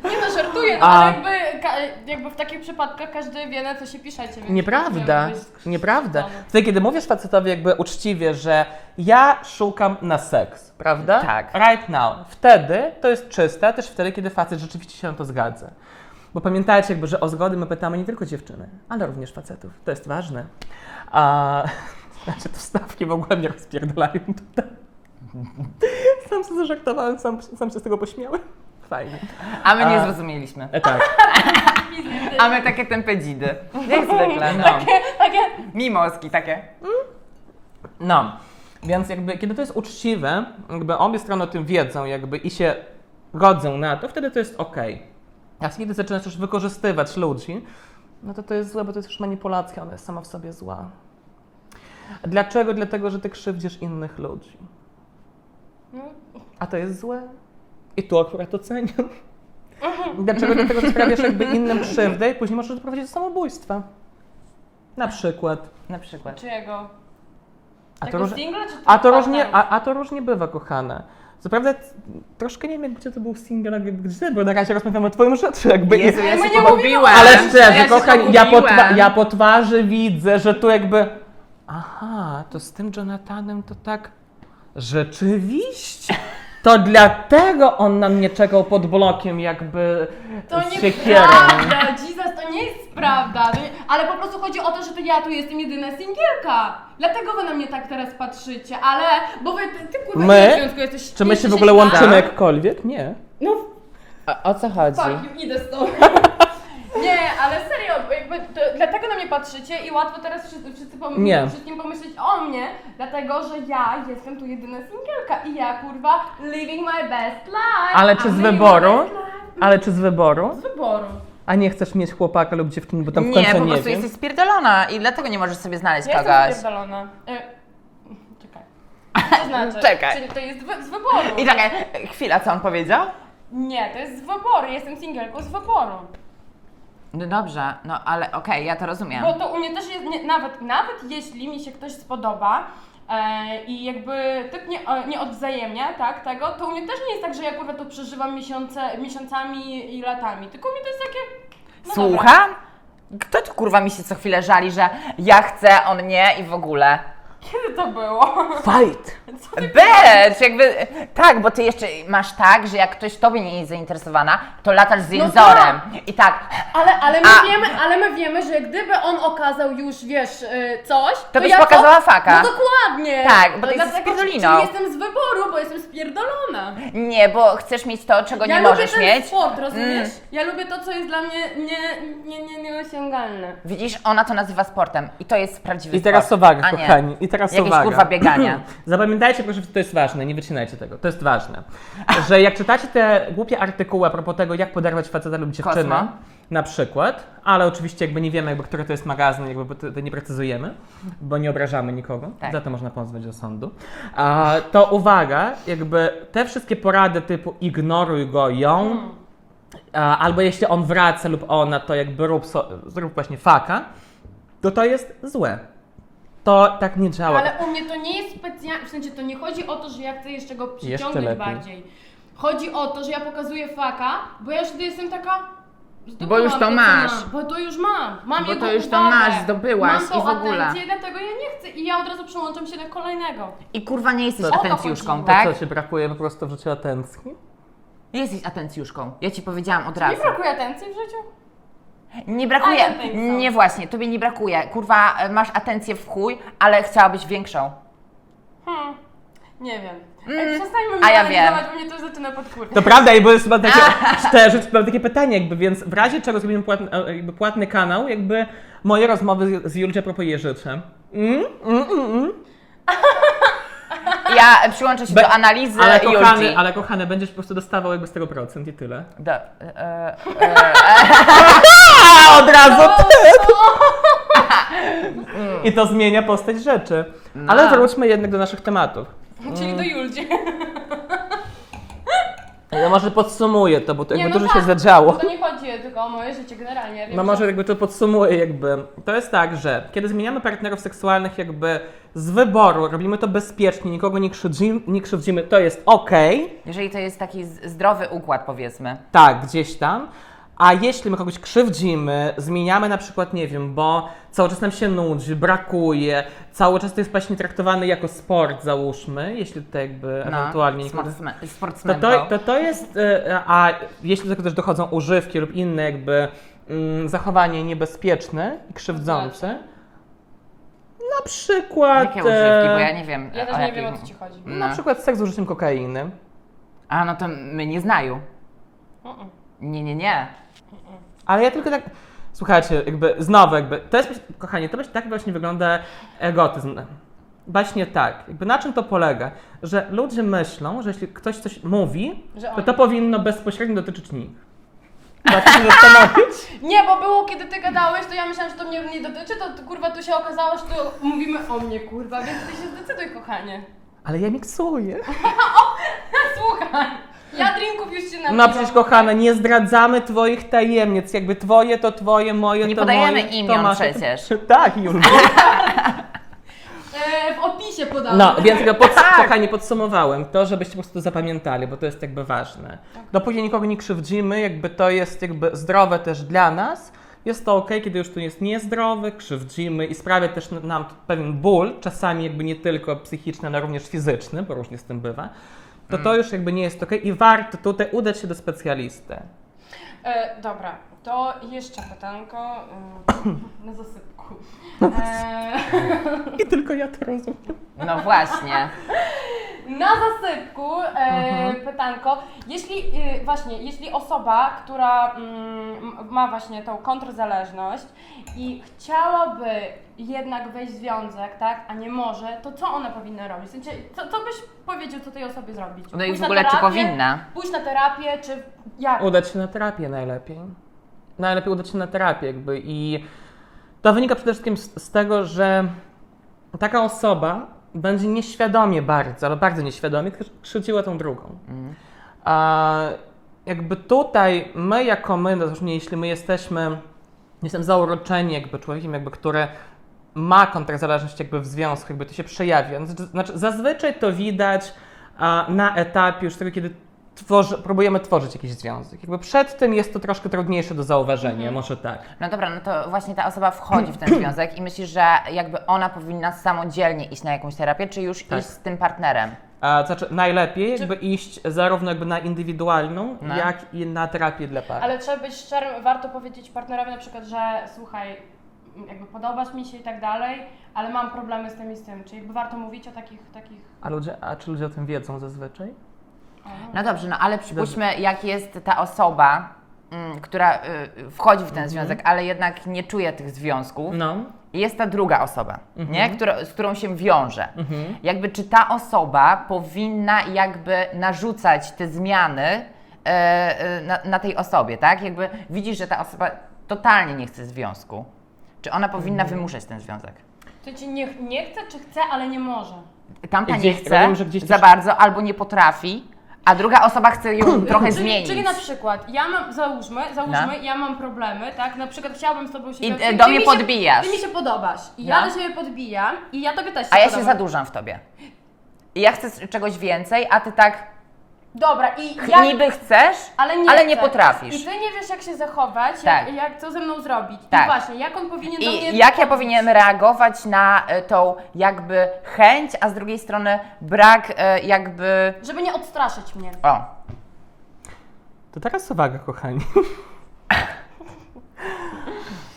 B: Nie no, żartuję, no,
C: A-
B: ale jakby, ka, jakby w takich przypadkach każdy wie na co się piszecie. Więc
C: Nieprawda,
B: miałby być-
C: nieprawda.
B: Dobra.
C: Wtedy, kiedy mówisz facetowi jakby uczciwie, że ja szukam na seks, prawda?
A: Tak.
C: Right now. Wtedy to jest czyste, też wtedy, kiedy facet rzeczywiście się na to zgadza. Bo pamiętajcie jakby, że o zgody my pytamy nie tylko dziewczyny, ale również facetów. To jest ważne. A... Znaczy, to wstawki w ogóle mnie rozpierdalają tutaj. Sam się zażartowałem, sam, sam się z tego pośmiałem. Fajnie.
A: A my nie
C: A-
A: zrozumieliśmy.
C: E, tak.
A: A my takie tępe dzidy. Jak zwykle, no.
B: Takie,
A: Mimoski takie.
C: No, więc jakby kiedy to jest uczciwe, jakby obie strony o tym wiedzą jakby i się godzą na to, wtedy to jest okej. A kiedy zaczynasz już wykorzystywać ludzi, no to to jest złe, bo to jest już manipulacja, ona jest sama w sobie zła. Dlaczego? Dlatego, że ty krzywdzisz innych ludzi. A to jest złe. I tu akurat oceniam. Dlaczego? Dlatego, że sprawiasz jakby innym krzywdę i później możesz doprowadzić do samobójstwa. Na przykład.
A: Na przykład.
B: Czyjego?
C: A
B: Tego
C: róż-
B: singla, czy
C: A to, różnie,
B: partnerów?
C: a, a to różnie bywa, kochane. Co prawda, c- troszkę nie wiem, jakby to był single, jakby gdzie, bo na razie rozmawiamy o twoim rzeczy, jakby
A: Jezu, ja
B: My
A: się
B: nie
A: pogubiłem.
C: Ale
A: ja
C: szczerze,
A: się
C: kochani, ja po, twa-
A: pogubiłem.
C: ja po twarzy widzę, że tu jakby... Aha, to z tym Jonathanem to tak... Rzeczywiście? To dlatego on na mnie czekał pod blokiem jakby
B: To
C: z
B: nie
C: siekierą.
B: prawda, Jesus, to nie jest prawda. To nie, ale po prostu chodzi o to, że to ja tu jestem jedyna singielka. Dlatego wy na mnie tak teraz patrzycie, ale. Bo wy ty, ty kurwa
C: My?
B: nie w związku jesteś.
C: Czy my się
B: jesteś
C: w ogóle
B: na-
C: łączymy jakkolwiek? Nie.
B: No
A: A o co chodzi?
B: fuck you, idę z tobą. Nie, ale serio, bo jakby to, dlatego na mnie patrzycie i łatwo teraz wszyscy, wszyscy pom-
C: Nie.
B: wszystkim pomyśleć o mnie, dlatego że ja jestem tu jedyna singielka i ja kurwa living my best life.
C: Ale czy
B: I'm
C: z
B: living my
C: wyboru?
B: best life.
C: Ale czy z wyboru?
B: Z wyboru.
C: A nie chcesz mieć chłopaka lub dziewczyny, bo tam w
A: Nie,
C: końcu
A: po
C: nie
A: prostu
C: wiem.
A: jesteś spierdolona i dlatego nie możesz sobie znaleźć
B: Ja jestem
A: kogoś.
B: spierdolona. E, czekaj. To znaczy,
A: Czekaj.
B: Czyli to jest wy, z wyboru.
A: I taka chwila, co on powiedział?
B: Nie, to jest z wyboru. Jestem singielką z wyboru.
A: No dobrze, no ale okej, ja to rozumiem.
B: Bo to u mnie też jest, nie, nawet, nawet jeśli mi się ktoś spodoba e, i jakby typ nie, e, nie odwzajemnia tak, tego, to u mnie też nie jest tak, że ja kurwa to przeżywam miesiące, miesiącami i latami. Tylko u mnie to jest takie... No dobra.
A: Słucham? Kto tu kurwa mi się co chwilę żali, że ja chcę, on nie i w ogóle?
B: Kiedy to było?
C: Fight!
A: Becz, jakby, tak, bo ty jeszcze masz tak, że jak ktoś tobie nie jest zainteresowana, to latasz z jęzorem. I tak,
D: Ale, ale, my
A: A.
D: wiemy, ale my wiemy, że gdyby on okazał już, wiesz, y, coś, to,
A: byś
D: ja co?
A: pokazała faka.
D: No dokładnie.
A: Tak,
D: No
A: bo ty jesteś
D: dlatego-
A: spierdoliną.
D: czyli Jestem z wyboru, bo jestem spierdolona.
A: nie, bo chcesz mieć to, czego
D: ja
A: nie
D: lubię
A: możesz
D: ten
A: mieć.
D: sport, rozumiesz?
A: Mm.
B: Ja lubię to, co jest dla mnie nie, nie, nie, nieosiągalne.
A: Widzisz, ona to nazywa sportem i to jest prawdziwy
C: I teraz
A: sport.
C: uwaga,
A: a nie
C: kochani. I teraz
A: Jakieś
C: uwaga.
A: kurwa biegania.
C: Zapamiętajcie proszę, że to jest ważne, nie wycinajcie tego. To jest ważne. Że jak czytacie te głupie artykuły a propos tego, jak poderwać faceta lub dziewczynę,
A: Kosmo.
C: na przykład, ale oczywiście jakby nie wiemy, jakby, który to jest magazyn, jakby bo to, to nie precyzujemy, bo nie obrażamy nikogo,
A: Tak.
C: za to można pozwać do sądu, a, to uwaga, jakby te wszystkie porady typu ignoruj go, ją, a, albo jeśli on wraca lub ona, to jakby rób, so, zrób właśnie faka, to to jest złe. To tak nie działa.
B: Ale u mnie to nie jest specjalnie, w sensie to nie chodzi o to, że ja chcę jeszcze go
C: Jeszcze
B: przyciągnąć
C: lepiej.
B: bardziej. Chodzi o to, że ja pokazuję faka, bo ja już wtedy jestem taka... zdobyłam
A: Bo już to
B: co
A: masz.
B: Mam, bo to już mam. Mam
A: Bo
B: jego
A: to już to
B: uwagę.
A: masz, zdobyłaś
B: mam tą
A: i w ogóle.
B: atencję, dlatego ja nie chcę i ja od razu przełączam się na kolejnego.
A: I kurwa nie jesteś
C: O to
A: atencjuszką,
B: chodziło.
A: tak?
C: Co się brakuje po prostu w życiu atencji?
A: Jesteś atencjuszką. Ja ci powiedziałam
C: Tak.
A: od
B: Nie
A: razu.
B: brakuje atencji w życiu?
A: Nie
B: I
A: brakuje.
B: don't think so.
A: Nie właśnie, tobie nie brakuje. Kurwa, e, masz atencję w chuj, ale chciałabyś większą.
B: Hmm. Nie wiem. Mm, Przestańmy
A: a
B: mnie
A: ja
B: analizować, bo mnie to zaczyna podkurwiać.
C: To prawda, i bo jest mam takie, szczerze, mam takie pytanie, jakby, więc w razie czego zrobimy płatny, e, jakby płatny kanał, jakby moje rozmowy z, z Julcia propos Jeżycze. Mm, mm, mm, mm.
A: Ja e, przyłączę się
C: Be-
A: do analizy
C: Ale
A: i
C: kochany,
A: ulgi.
C: ale kochany, będziesz po prostu dostawał jakby 100% i tyle.
A: Do, e, e,
C: A od razu No. I to zmienia postać rzeczy. Ale wróćmy jednak do naszych tematów.
B: Czyli do Juldzie.
C: Mm. Ja może podsumuję to, bo to
B: Nie,
C: jakby
B: no
C: dużo się
B: tak.
C: zadziało.
B: To nie chodzi tylko o moje życie generalnie. Ja wiem,
C: No
B: że-
C: może jakby to podsumuję jakby. To jest tak, że kiedy zmieniamy partnerów seksualnych jakby z wyboru, robimy to bezpiecznie, nikogo nie krzywdzimy, nie krzywdzimy to jest okej,
A: jeżeli to jest taki z- zdrowy układ, powiedzmy.
C: tak, gdzieś tam. A jeśli my kogoś krzywdzimy, zmieniamy na przykład, nie wiem, bo cały czas nam się nudzi, brakuje, cały czas to jest właśnie traktowany jako sport, załóżmy, jeśli to jakby ewentualnie... nie-
A: No, sportsmen,
C: to,
A: sportsmenką.
C: to, to, to jest, e, a jeśli do tego też dochodzą używki lub inne jakby mm, zachowanie niebezpieczne i krzywdzące, na przykład...
A: Jakie używki, bo ja nie wiem.
B: Ja
A: e,
B: też nie
A: jakiej-
B: wiem o co ci chodzi.
A: No.
C: Na przykład seks z użyciem kokainy.
A: A no to my nie znają.
B: Mm-mm.
A: Nie, nie, nie.
C: Ale ja tylko tak. Słuchajcie, jakby znowu, jakby. To jest, kochanie, to właśnie tak właśnie wygląda egotyzm. Właśnie tak. Jakby na czym to polega? Że ludzie myślą, że jeśli ktoś coś mówi,
B: Że
C: to
B: oni.
C: to powinno bezpośrednio dotyczyć nich. Macie się zastanowić?
B: Nie, bo było kiedy ty gadałeś, to ja myślałam, że to mnie nie dotyczy, to tu, kurwa tu się okazało, że tu mówimy o mnie kurwa, więc ty się zdecyduj kochanie.
C: Ale ja miksuję.
B: Słuchaj, ja drinków już się napiłam.
C: No przecież, kochana, nie zdradzamy twoich tajemnic. Jakby twoje to twoje, moje
A: Nie
C: to moje.
A: podajemy
C: to
A: imion
C: nasze.
A: przecież.
C: Tak, Julka.
B: E, w opisie E, podałam.
C: No, więc jakby pod, kochani, podsumowałem to, żebyście po prostu zapamiętali, bo to jest jakby ważne. Dopóki nikogo nie krzywdzimy, jakby to jest jakby zdrowe też dla nas, jest to ok, kiedy już to jest niezdrowe, krzywdzimy i sprawia też n- nam to pewien ból, czasami jakby nie tylko psychiczny, ale również fizyczny, bo różnie z tym bywa, to
A: Mm.
C: to już jakby nie jest ok i warto tutaj udać się do specjalisty.
B: E, dobra, to jeszcze pytanko e, na zasypku. E,
C: I tylko ja to rozumiem.
A: No właśnie.
B: Na zasypku e,
A: Mhm.
B: pytanko, jeśli e, właśnie, jeśli osoba, która mm, ma właśnie tą kontrozależność i chciałaby jednak wejść w związek, tak, a nie może, to co ona powinna robić? W sensie, co, co byś powiedział, co tej osobie zrobić?
A: No i
B: Pójść
A: w
B: na
A: ogóle czy
B: terapię?
A: powinna?
B: Pójść na terapię, czy jak?
C: Udać się na terapię najlepiej. Najlepiej udać się na terapię, jakby. I to wynika przede wszystkim z, z tego, że taka osoba będzie nieświadomie bardzo, ale bardzo nieświadomie krzy- krzywdziła tą drugą.
A: Mm.
C: A jakby tutaj my jako my, no zresztą jeśli my jesteśmy, jestem zauroczeni jakby człowiekiem, jakby, który ma kontrazależność jakby w związku, jakby to się przejawia. Znaczy, znaczy zazwyczaj to widać a, na etapie już tego, kiedy tworzy, próbujemy tworzyć jakiś związek. Jakby przed tym jest to troszkę trudniejsze do zauważenia, może tak.
A: No dobra, no to właśnie ta osoba wchodzi w ten związek i myśli, że jakby ona powinna samodzielnie iść na jakąś terapię, czy już
C: Tak.
A: iść z tym partnerem.
C: A, to znaczy najlepiej jakby iść zarówno jakby na indywidualną,
A: No.
C: jak i na terapię dla par.
B: Ale trzeba być szczerym, warto powiedzieć partnerowi na przykład, że słuchaj, jakby podobasz mi się i tak dalej, ale mam problemy z tym i z tym. Czyli jakby warto mówić o takich, takich...
C: A, ludzie, a czy ludzie o tym wiedzą zazwyczaj?
A: No dobrze, no ale przypuśćmy, jak jest ta osoba, mm, która y, wchodzi w ten związek, ale jednak nie czuje tych związków.
C: No.
A: I Jest ta druga osoba, nie?
B: Mhm.
A: Która, z którą się wiąże. Jakby czy ta osoba powinna jakby narzucać te zmiany e, e, na, na tej osobie, tak? Jakby widzisz, że ta osoba totalnie nie chce związku. Czy ona powinna
B: Mhm.
A: wymuszać ten związek?
B: To ci nie, nie chce, czy chce, ale nie może.
A: Tamta nie
C: Gdzieś-
A: chce
C: rozumiem, że gdzieś
A: za
C: też-
A: bardzo albo nie potrafi, a druga osoba chce ją trochę
B: Czyli,
A: zmienić. No.
B: czyli na przykład, ja mam, załóżmy, załóżmy, ja mam problemy, tak? Na przykład chciałabym z tobą się...
A: I,
B: wiązać.
A: e, do
B: Ty
A: mnie
B: mi
A: podbijasz.
B: Się, ty mi się podobasz. I
A: No.
B: ja do ciebie podbijam i ja tobie też się
A: a ja się
B: podobam.
A: zadłużam w tobie. I ja chcę s- czegoś więcej, a ty tak
B: Dobra, i
A: ch-
B: ja...
A: niby chcesz,
B: Ale nie,
A: ale nie
B: chcę.
A: potrafisz.
B: I ty nie wiesz, jak się zachować,
A: Tak.
B: jak, jak co ze mną zrobić.
A: Tak.
B: I właśnie, jak on powinien do mnie
A: I jak ja
B: podejść.
A: powinienem reagować na e, tą jakby chęć, a z drugiej strony brak e, jakby.
B: Żeby nie odstraszyć mnie.
A: O,
C: To teraz uwaga, kochani.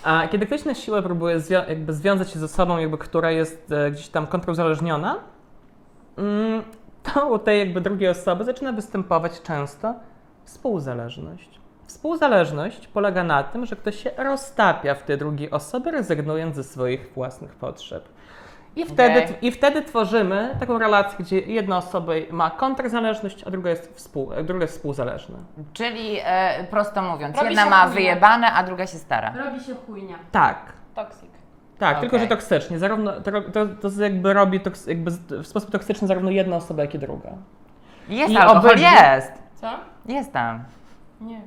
C: A kiedy ktoś na siłę próbuje zwio- jakby związać się ze sobą, jakby, która jest e, gdzieś tam kontruzależniona, mm, to u tej jakby drugiej osoby zaczyna występować często współzależność. Współzależność polega na tym, że ktoś się roztapia w tej drugiej osoby, rezygnując ze swoich własnych potrzeb. I wtedy,
A: Okej.
C: I wtedy tworzymy taką relację, gdzie jedna osoba ma kontrzależność, a druga jest, współ, a druga jest współzależna.
A: czyli e, prosto mówiąc,
B: Robi
A: jedna
B: się
A: ma
B: chujnia.
A: wyjebane, a druga się stara.
B: Robi się chujnia.
C: Tak.
B: Toksik.
C: Tak,
A: Okej.
C: tylko że toksycznie. Zarówno, to, to, to jakby robi toks, jakby z- w sposób toksyczny zarówno jedna osoba, jak i druga.
A: Jest
C: I
A: alkohol,
C: obydwie-
A: jest!
B: Co?
A: Jest tam.
B: Nie.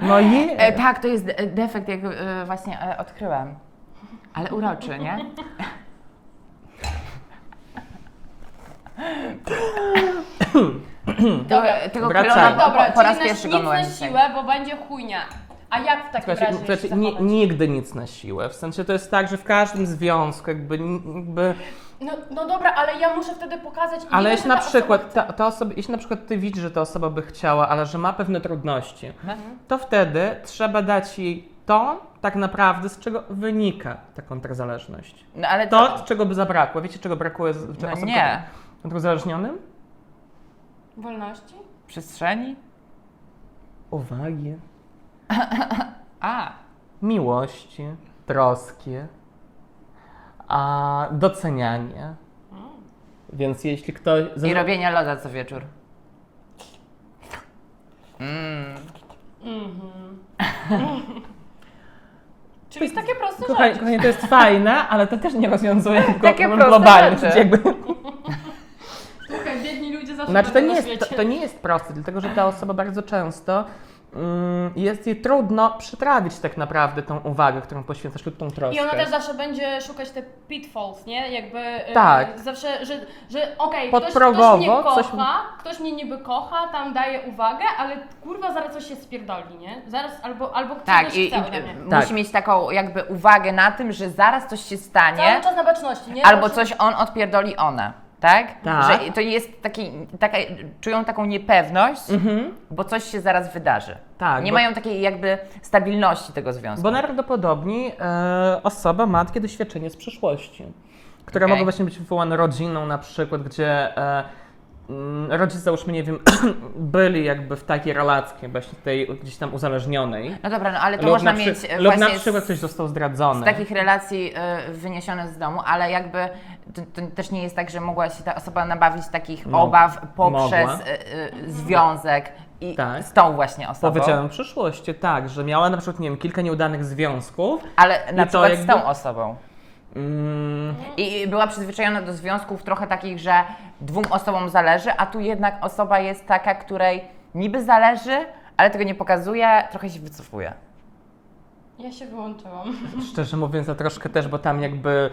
C: No i.
A: E, tak, to jest de- defekt, jak e, właśnie e, odkryłam. Ale uroczy, nie? To, tego
C: Wracamy.
A: królona po,
B: Dobra,
A: Tak, po, po raz
B: czyli
A: pierwszy
B: na, nic
A: go
B: na siłę, bo będzie chujnia. A jak w takim
C: Słuchajcie,
B: razie
C: słuchajcie,
B: się
C: ni-
B: zachować?
C: nigdy nic na siłę. W sensie to jest tak, że w każdym związku jakby. ni- jakby
B: No, no dobra, ale ja muszę wtedy pokazać... i
C: ale
B: wiem,
C: jeśli
B: że
C: na
B: ta
C: przykład ta, ta osoba, jeśli na przykład ty widzisz, że ta osoba by chciała, ale że ma pewne trudności, to wtedy trzeba dać jej to tak naprawdę, z czego wynika ta kontrzależność.
A: No ale to,
C: To, czego by zabrakło. Wiecie, czego brakuje z-
A: No
C: osobom
A: nie.
C: kontruzależnionym?
B: osoba- Wolności?
A: przestrzeni?
C: Uwagi.
A: A,
C: miłości, troski, a docenianie. Mm. Więc jeśli ktoś.
A: i robienia loda co wieczór. Mm,
B: Mhm. Czyli takie proste
C: Kochani,
B: rzeczy.
C: kochani, to jest fajne, ale to też nie rozwiązuje go
A: Takie
C: problem
A: proste
C: globalny.
A: rzeczy.
C: czyli Jakby,
B: Słuchaj, biedni ludzie zawsze
C: znaczy, to
B: będą
C: nie,
B: na
C: jest, to,
B: świecie.
C: to nie jest proste, dlatego że ta osoba bardzo często mm, jest jej trudno przytrawić tak naprawdę tą uwagę, którą poświęcasz lub tą troskę.
B: I ona też zawsze będzie szukać te pitfalls, nie? Jakby e,
C: Tak.
B: zawsze, że, że okej, ktoś, ktoś
C: Podprogowo
B: mnie kocha,
C: coś-
B: ktoś mnie niby kocha, tam daje uwagę, ale kurwa zaraz coś się spierdoli, nie? Zaraz albo, albo ktoś
A: Tak, i, i
B: chce ode mnie.
A: musi
C: Tak.
A: mieć taką jakby uwagę na tym, że zaraz coś się stanie,
B: Cały czas na baczności, nie?
A: albo
B: Zawsze-
A: coś on odpierdoli ona, tak?
C: Tak.
A: Że to jest taki, taka, czują taką niepewność,
C: Mhm.
A: bo coś się zaraz wydarzy.
C: Tak,
A: Nie
C: bo-
A: mają takiej jakby stabilności tego związku.
C: Bo najprawdopodobniej e, osoba ma takie doświadczenie z przeszłości, które
A: Okej.
C: mogą właśnie być wywołane rodziną na przykład, gdzie e, mm, rodzice załóżmy, nie wiem, byli jakby w takiej relacji właśnie tej gdzieś tam uzależnionej.
A: No dobra, no ale to
C: Lub
A: można
C: na, przy-
A: mieć e,
C: lub na
A: właśnie
C: przykład
A: z,
C: ktoś został
A: z
C: zdradzony.
A: takich relacji e, wyniesionych z domu, ale jakby to, to też nie jest tak, że mogła się ta osoba nabawić takich
C: Mo-
A: obaw poprzez
C: No, mogła.
A: e, e, związek i
C: Tak.
A: z tą właśnie osobą.
C: Powiedziałem w przyszłości, tak, że miała na przykład, nie wiem, kilka nieudanych związków.
A: Ale na
C: I to
A: przykład z
C: jakby-
A: tą osobą.
C: Mm,
A: I i była przyzwyczajona do związków trochę takich, że dwóm osobom zależy, a tu jednak osoba jest taka, której niby zależy, ale tego nie pokazuje, trochę się wycofuje.
B: Ja się wyłączyłam.
A: Mhm.
C: szczerze mówiąc, ja troszkę też, bo tam jakby,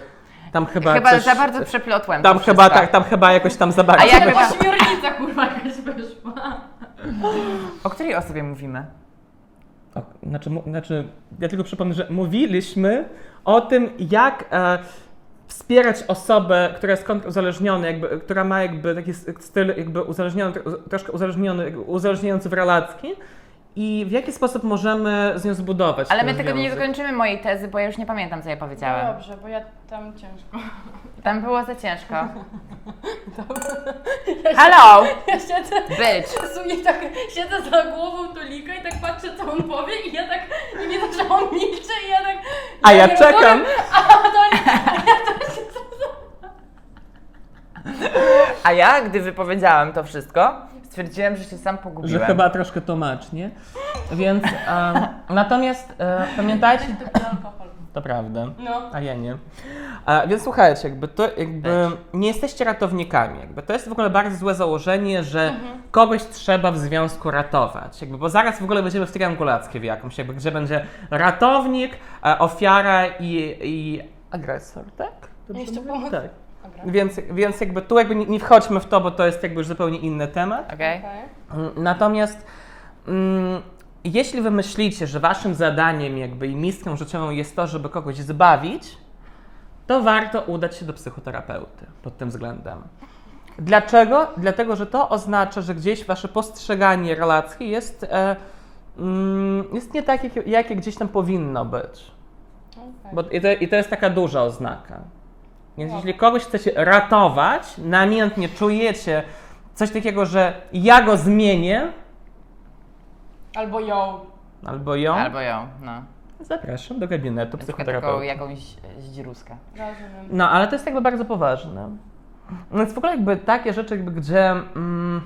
C: tam chyba
A: chyba
C: coś,
A: za bardzo przeplotłem.
C: tam
A: to
C: chyba,
A: wszystko.
C: tak, tam chyba jakoś tam za bardzo.
A: A ja
B: Chyba
A: chyba-
B: Ośmiornica kurwa jakaś wyszła.
C: tak-
A: O której osobie mówimy?
C: O, znaczy, mu- znaczy, ja tylko przypomnę, że mówiliśmy o tym, jak e, wspierać osobę, która jest kontruzależniona, jakby, która ma jakby taki s- styl jakby uzależniony, tro- troszkę uzależniony, jakby uzależniający w relacji i w jaki sposób możemy z nią zbudować
A: Ale
C: ten
A: my tego nie
C: związek.
A: dokończymy mojej tezy, bo ja już nie pamiętam, co ja powiedziałem.
B: No Dobrze, bo ja tam ciężko.
A: Tam było za ciężko. Hello,
B: Ja siedzę,
A: bitch!
B: w sumie tak siedzę za głową Tulika i tak patrzę, co on powie i ja tak, i nie to, że on milczy i ja tak...
C: A ja
B: nie
C: czekam.
B: rozumiem, A to nie,
A: A ja, gdy wypowiedziałem to wszystko, stwierdziłem, że się sam
C: Że
A: pogubiłem.
C: chyba troszkę tłumacznie. Więc e, natomiast e, pamiętajcie,
B: to alkohol.
C: to prawda.
B: No.
C: A ja nie. A, więc słuchajcie, jakby to jakby nie jesteście ratownikami. Jakby to jest w ogóle bardzo złe założenie, że kogoś trzeba w związku ratować. Jakby, bo zaraz w ogóle będziemy w triangulackie w jakimś, jakby, gdzie będzie ratownik, e, ofiara i, i agresor, tak? Dobrze
D: Jeszcze
C: mówię?
D: pomoc-
C: Tak.
D: Dobra.
C: Więc, więc jakby tu jakby nie, nie wchodźmy w to, bo to jest jakby już zupełnie inny temat.
A: Okej?
D: Okej.
C: Natomiast mm, jeśli wy myślicie, że waszym zadaniem jakby i misją życiową jest to, żeby kogoś zbawić, to warto udać się do psychoterapeuty pod tym względem. Dlaczego? Dlatego, że to oznacza, że gdzieś wasze postrzeganie relacji jest, e, mm, jest nie takie, jakie- jakie gdzieś tam powinno być.
D: Okej.
C: Bo i, to, I to jest taka duża oznaka. Więc
D: No.
C: jeśli kogoś chcecie ratować, namiętnie czujecie coś takiego, że ja go zmienię,
B: Albo ją.
C: albo ją,
A: Albo ją, no.
C: zapraszam do gabinetu
A: Tylko taką
C: psychoterapeuty.
A: jakąś e, zdziruskę.
B: Rozumiem.
C: No, ale to jest jakby bardzo poważne. No Więc w ogóle jakby takie rzeczy, jakby gdzie mm,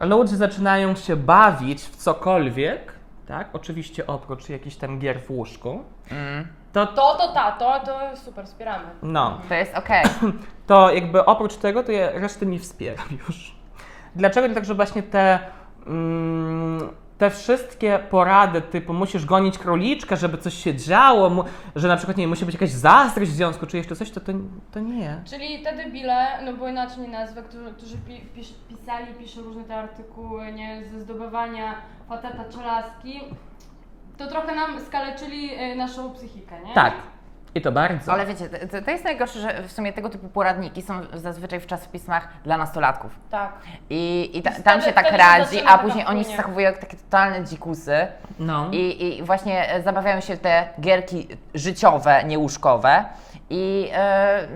C: ludzie zaczynają się bawić w cokolwiek, tak, oczywiście oprócz jakichś tam gier w łóżku,
A: Mm.
C: to, to
D: To, to, ta, to, to super, wspieramy.
C: no,
A: To jest okej.
C: to jakby oprócz tego, to ja reszty nie wspieram już. Dlaczego? Dlatego, że właśnie te, mm, te wszystkie porady typu musisz gonić króliczkę, żeby coś się działo, mu, że na przykład nie wiem, musi być jakaś zazdrość w związku, czy jeszcze coś, to, to, to nie.
B: Czyli te debile, no bo inaczej nie nazwę, którzy, którzy pi, pisz, pisali, piszą różne te artykuły, nie, ze zdobywania faceta czy laski, to trochę nam skaleczyli y, naszą psychikę, nie?
C: Tak. I to bardzo.
A: Ale wiecie, to, to jest najgorsze, że w sumie tego typu poradniki są zazwyczaj w czasopismach dla nastolatków.
B: Tak.
A: I, i ta,
B: Wtedy-
A: tam się tak
B: wtedy
A: radzi,
B: zaczyna
A: a
B: taka
A: później oni się
B: chujnia.
A: zachowują jak takie totalne dzikusy.
C: No.
A: I, I właśnie e, zabawiają się w te gierki życiowe, niełóżkowe. I e,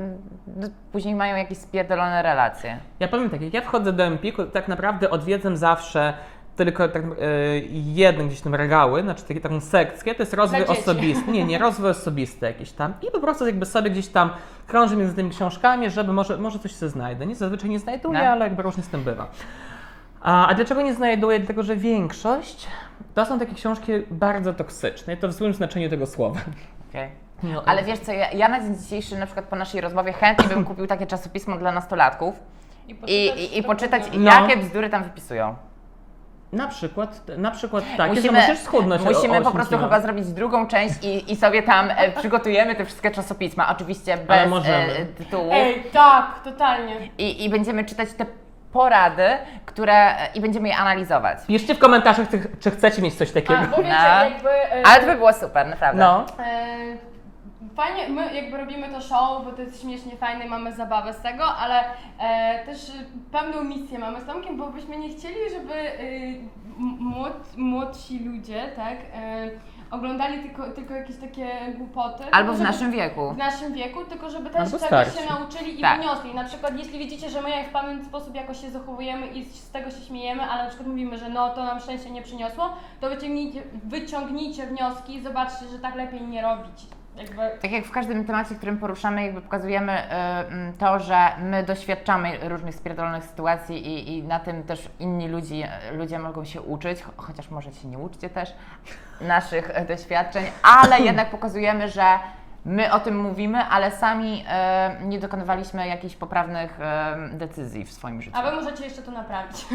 A: no, później mają jakieś spierdolone relacje.
C: Ja powiem tak, jak ja wchodzę do Empiku, to tak naprawdę odwiedzam zawsze tylko tak, e, jeden gdzieś tam regały, znaczy taki, taką sekcję, to jest rozwój
B: Dla dzieci.
C: osobisty. Nie, nie, rozwój osobisty jakiś tam. I po prostu jakby sobie gdzieś tam krążę między tymi książkami, żeby może, może coś się znajdę. Nie, zazwyczaj nie znajduję,
A: No.
C: ale jakby różnie z tym bywa. A, a dlaczego nie znajduję? Dlatego, że większość to są takie książki bardzo toksyczne i to w złym znaczeniu tego słowa.
A: Okej. No, Ale wiesz co, ja, ja na dzień dzisiejszy, na przykład po naszej rozmowie, chętnie bym kupił takie czasopismo dla nastolatków i, i, i poczytać,
B: szczegóły.
C: No.
A: jakie bzdury tam wypisują.
C: Na przykład, na przykład tak, musimy, musisz schudnąć o-
A: musimy
C: o
A: po
C: 8
A: prostu
C: kilo.
A: chyba zrobić drugą część i, i sobie tam e, przygotujemy te wszystkie czasopisma, oczywiście
C: Ale
A: bez
C: możemy.
A: e, tytułu.
B: Ej, tak, totalnie.
A: I, I będziemy czytać te porady, które i będziemy je analizować.
C: Piszcie w komentarzach, czy, czy chcecie mieć coś
B: A,
C: takiego.
B: Tak, bo wiecie,
A: No.
B: jakby... y,
A: Ale to by było super, naprawdę.
C: No.
B: E, Fajnie, my jakby robimy to show, bo to jest śmiesznie fajne, mamy zabawę z tego, ale e, też e, pewną misję mamy z Tomkiem, bo byśmy nie chcieli, żeby e, m- młod, młodsi ludzie, tak, e, oglądali tylko, tylko jakieś takie głupoty.
A: Albo w
B: Żeby-
A: naszym wieku.
B: w naszym wieku, tylko żeby też
C: Albo
B: czegoś
C: starsi.
B: się nauczyli i
A: Tak.
B: wyniosli. Na przykład jeśli widzicie, że my jak w pewien sposób jakoś się zachowujemy i z tego się śmiejemy, ale na przykład mówimy, że no to nam szczęście nie przyniosło, to wyciągnijcie, wyciągnijcie wnioski i zobaczcie, że tak lepiej nie robić. Jakby...
A: Tak jak w każdym temacie, którym poruszamy, jakby pokazujemy y, mm, to, że my doświadczamy różnych spierdolonych sytuacji i, i na tym też inni ludzi, ludzie mogą się uczyć, cho- chociaż może się nie uczcie też naszych e, doświadczeń, ale jednak pokazujemy, że my o tym mówimy, ale sami e, nie dokonywaliśmy jakichś poprawnych e, decyzji w swoim życiu.
B: A wy możecie jeszcze to naprawić.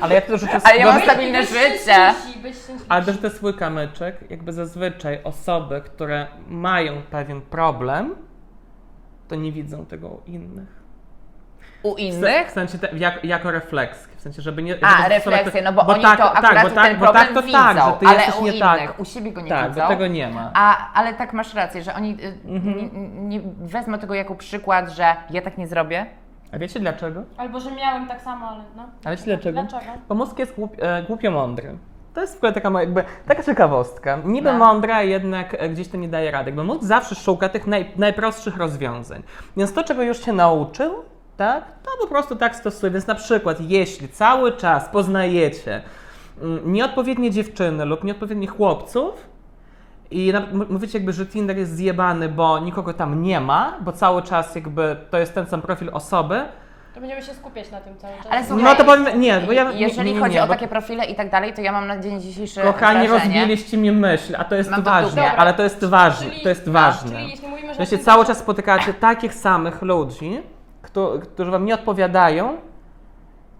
C: Ale ja to, że to jest,
A: Ale ja
C: bo-
A: mam stabilne
B: I być
A: życie.
B: szczęśliwsi, być szczęśliwsi.
C: ale też to jest swój kamyczek, jakby zazwyczaj osoby, które mają pewien problem, to nie widzą tego u innych.
A: u
C: W
A: innych?
C: sensie te, jak, jako refleks. W sensie, żeby nie.
A: A,
C: żeby
A: refleksję,
C: sobie-
A: no bo, oni
C: tak,
A: to akurat
C: tak, bo tak,
A: ten
C: bo
A: problem
C: tak, to
A: widzą,
C: tak, że ty
A: ale
C: jesteś
A: u
C: nie
A: innych,
C: tak.
A: u siebie go nie
C: tak,
A: widzą.
C: bo tego nie Mhm. ma.
A: A, ale tak masz rację, że oni y, nie, nie wezmą tego jako przykład, że ja tak nie zrobię.
C: A wiecie dlaczego?
B: Albo że miałem tak samo, ale no.
C: A wiecie dlaczego?
B: Dlaczego?
C: Bo mózg jest głup, e, głupio mądry. To jest w ogóle taka, moja- jakby, taka ciekawostka. Niby
A: No.
C: mądra, a jednak e, gdzieś to nie daje rady. Bo mózg zawsze szuka tych naj, najprostszych rozwiązań. Więc to, czego już się nauczył, tak, to po prostu tak stosuje. Więc na przykład, jeśli cały czas poznajecie mm, nieodpowiednie dziewczyny lub nieodpowiednich chłopców, i na, m- mówicie jakby, że Tinder jest zjebany, bo nikogo tam nie ma, bo cały czas jakby to jest ten sam profil osoby,
B: To będziemy się skupiać na tym cały czas.
A: Ale słuchaj,
C: no to powiem, nie, bo ja...
A: jeżeli
C: nie, nie,
A: chodzi
C: nie,
A: o
C: bo-
A: takie profile i tak dalej, to ja mam na dzień dzisiejszy
C: Kochani,
A: wrażenie,
C: rozbiliście mi myśl, a to jest
A: Mam to tak, w
C: ważne,
A: dupie.
C: ale to jest ważne,
B: Czyli-
C: to jest ważne.
B: Czyli jeśli mówimy, że...
C: Że się
B: ten-
C: cały czas spotykacie takich samych ludzi, kto, którzy wam nie odpowiadają,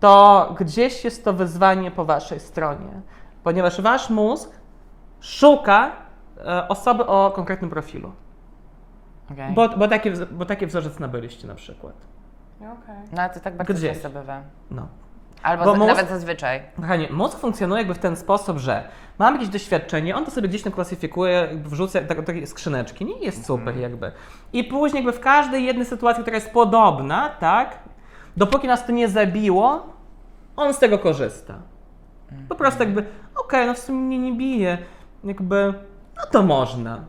C: to gdzieś jest to wyzwanie po waszej stronie, ponieważ wasz mózg szuka e, osoby o konkretnym profilu,
A: Okej.
C: bo, bo, takie, wz- bo takie wzorzec nabyliście na przykład.
B: Okej.
A: No ale to tak bardzo
C: Gdzie?
A: często bywa.
C: No.
A: Albo
C: Bo
A: za,
C: mózg-
A: nawet zazwyczaj.
C: Kochanie, mózg funkcjonuje jakby w ten sposób, że mam jakieś doświadczenie, on to sobie gdzieś tam klasyfikuje, jakby wrzuca do do takiej skrzyneczki, nie jest super jakby. I później jakby w każdej jednej sytuacji, która jest podobna, tak, dopóki nas to nie zabiło, on z tego korzysta. Po prostu jakby, okej, no w sumie mnie nie bije, jakby, no to można.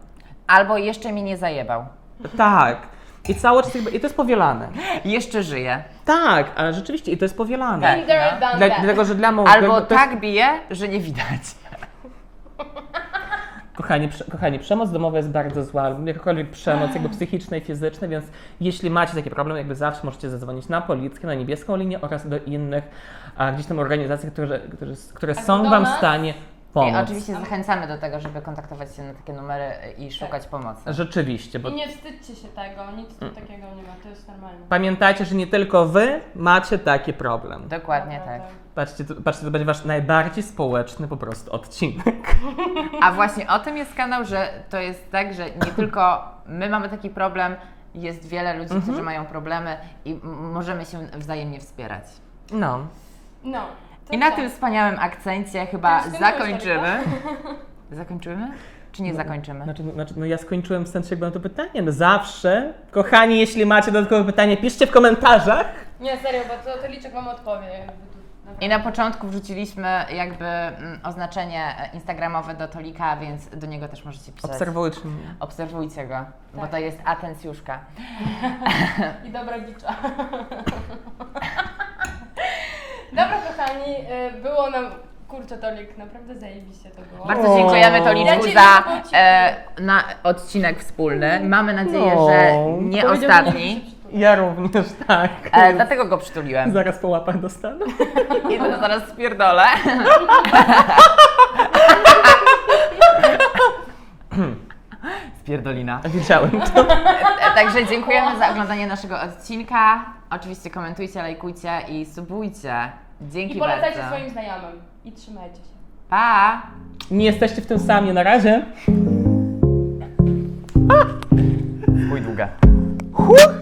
A: Albo jeszcze mi nie zajebał.
C: Tak. I cały czas jakby, i to jest powielane.
A: Jeszcze żyje.
C: Tak, ale rzeczywiście, i to jest
A: Tak.
C: powielane.
D: Tinder done
C: No. Dla,
D: that.
C: dlatego, że dla mózgu...
A: Albo
C: jakby to jest-
A: tak bije, że nie widać.
C: Kochani, prze, kochani, przemoc domowa jest bardzo zła, jakakolwiek przemoc jakby psychiczna i fizyczna, więc jeśli macie taki problem, jakby zawsze możecie zadzwonić na policję, na niebieską linię oraz do innych a, gdzieś tam organizacji, które, które, które są
B: do
C: Wam w
B: nas?
C: stanie pomóc.
A: I oczywiście zachęcamy do tego, żeby kontaktować się na takie numery i szukać pomocy.
C: Rzeczywiście, bo
B: I nie wstydźcie się tego, nic tu takiego nie ma, to jest normalne.
C: pamiętajcie, że nie tylko Wy macie taki problem.
A: Dokładnie tak.
C: Patrzcie, to, patrzcie, to będzie Wasz najbardziej społeczny po prostu odcinek.
A: tak. A właśnie o tym jest kanał, że to jest tak, że nie tylko my mamy taki problem, jest wiele ludzi,
B: Mhm.
A: którzy mają problemy i m- możemy się wzajemnie wspierać.
C: No.
B: No. to
A: I na
B: co?
A: tym wspaniałym akcencie chyba
B: To już skończyłeś,
A: zakończymy. Zakończymy? Czy nie zakończymy?
C: Znaczy, znaczy, no ja skończyłem w sensie jakby na to pytanie. No zawsze, kochani, jeśli macie dodatkowe pytanie, piszcie w komentarzach.
B: Nie, serio, bo to, to Liczek Wam odpowie. jakby tu naprawdę.
A: I na początku wrzuciliśmy jakby mm, oznaczenie e, instagramowe do Tolika, więc do niego też możecie pisać.
C: Obserwujcie mnie.
A: Obserwujcie go,
B: Tak.
A: bo to jest atencjuszka.
B: I dobra gicza. dobra, kochani, y, było nam... Kurczę, Tolik, naprawdę zajebiście to było.
A: Bardzo dziękujemy
C: Ja
A: Toliczku
B: cię
A: za
B: nie podziwiam.
A: e, na odcinek wspólny. Mamy nadzieję,
C: No.
A: że nie
B: Powiedział mi, że się
A: ostatni.
B: przytuli.
C: Ja również tak.
A: E, dlatego go przytuliłem.
C: Zaraz po łapach dostanę.
A: I to zaraz spierdolę. Spierdolina.
C: Widziałem to.
A: E, Także dziękujemy za oglądanie naszego odcinka. Oczywiście komentujcie, lajkujcie i subujcie. Dzięki
B: I polecajcie
A: bardzo.
B: swoim znajomym. I trzymajcie się.
A: Pa!
C: Nie jesteście w tym sami na razie.
A: Mój długa.
C: Huh!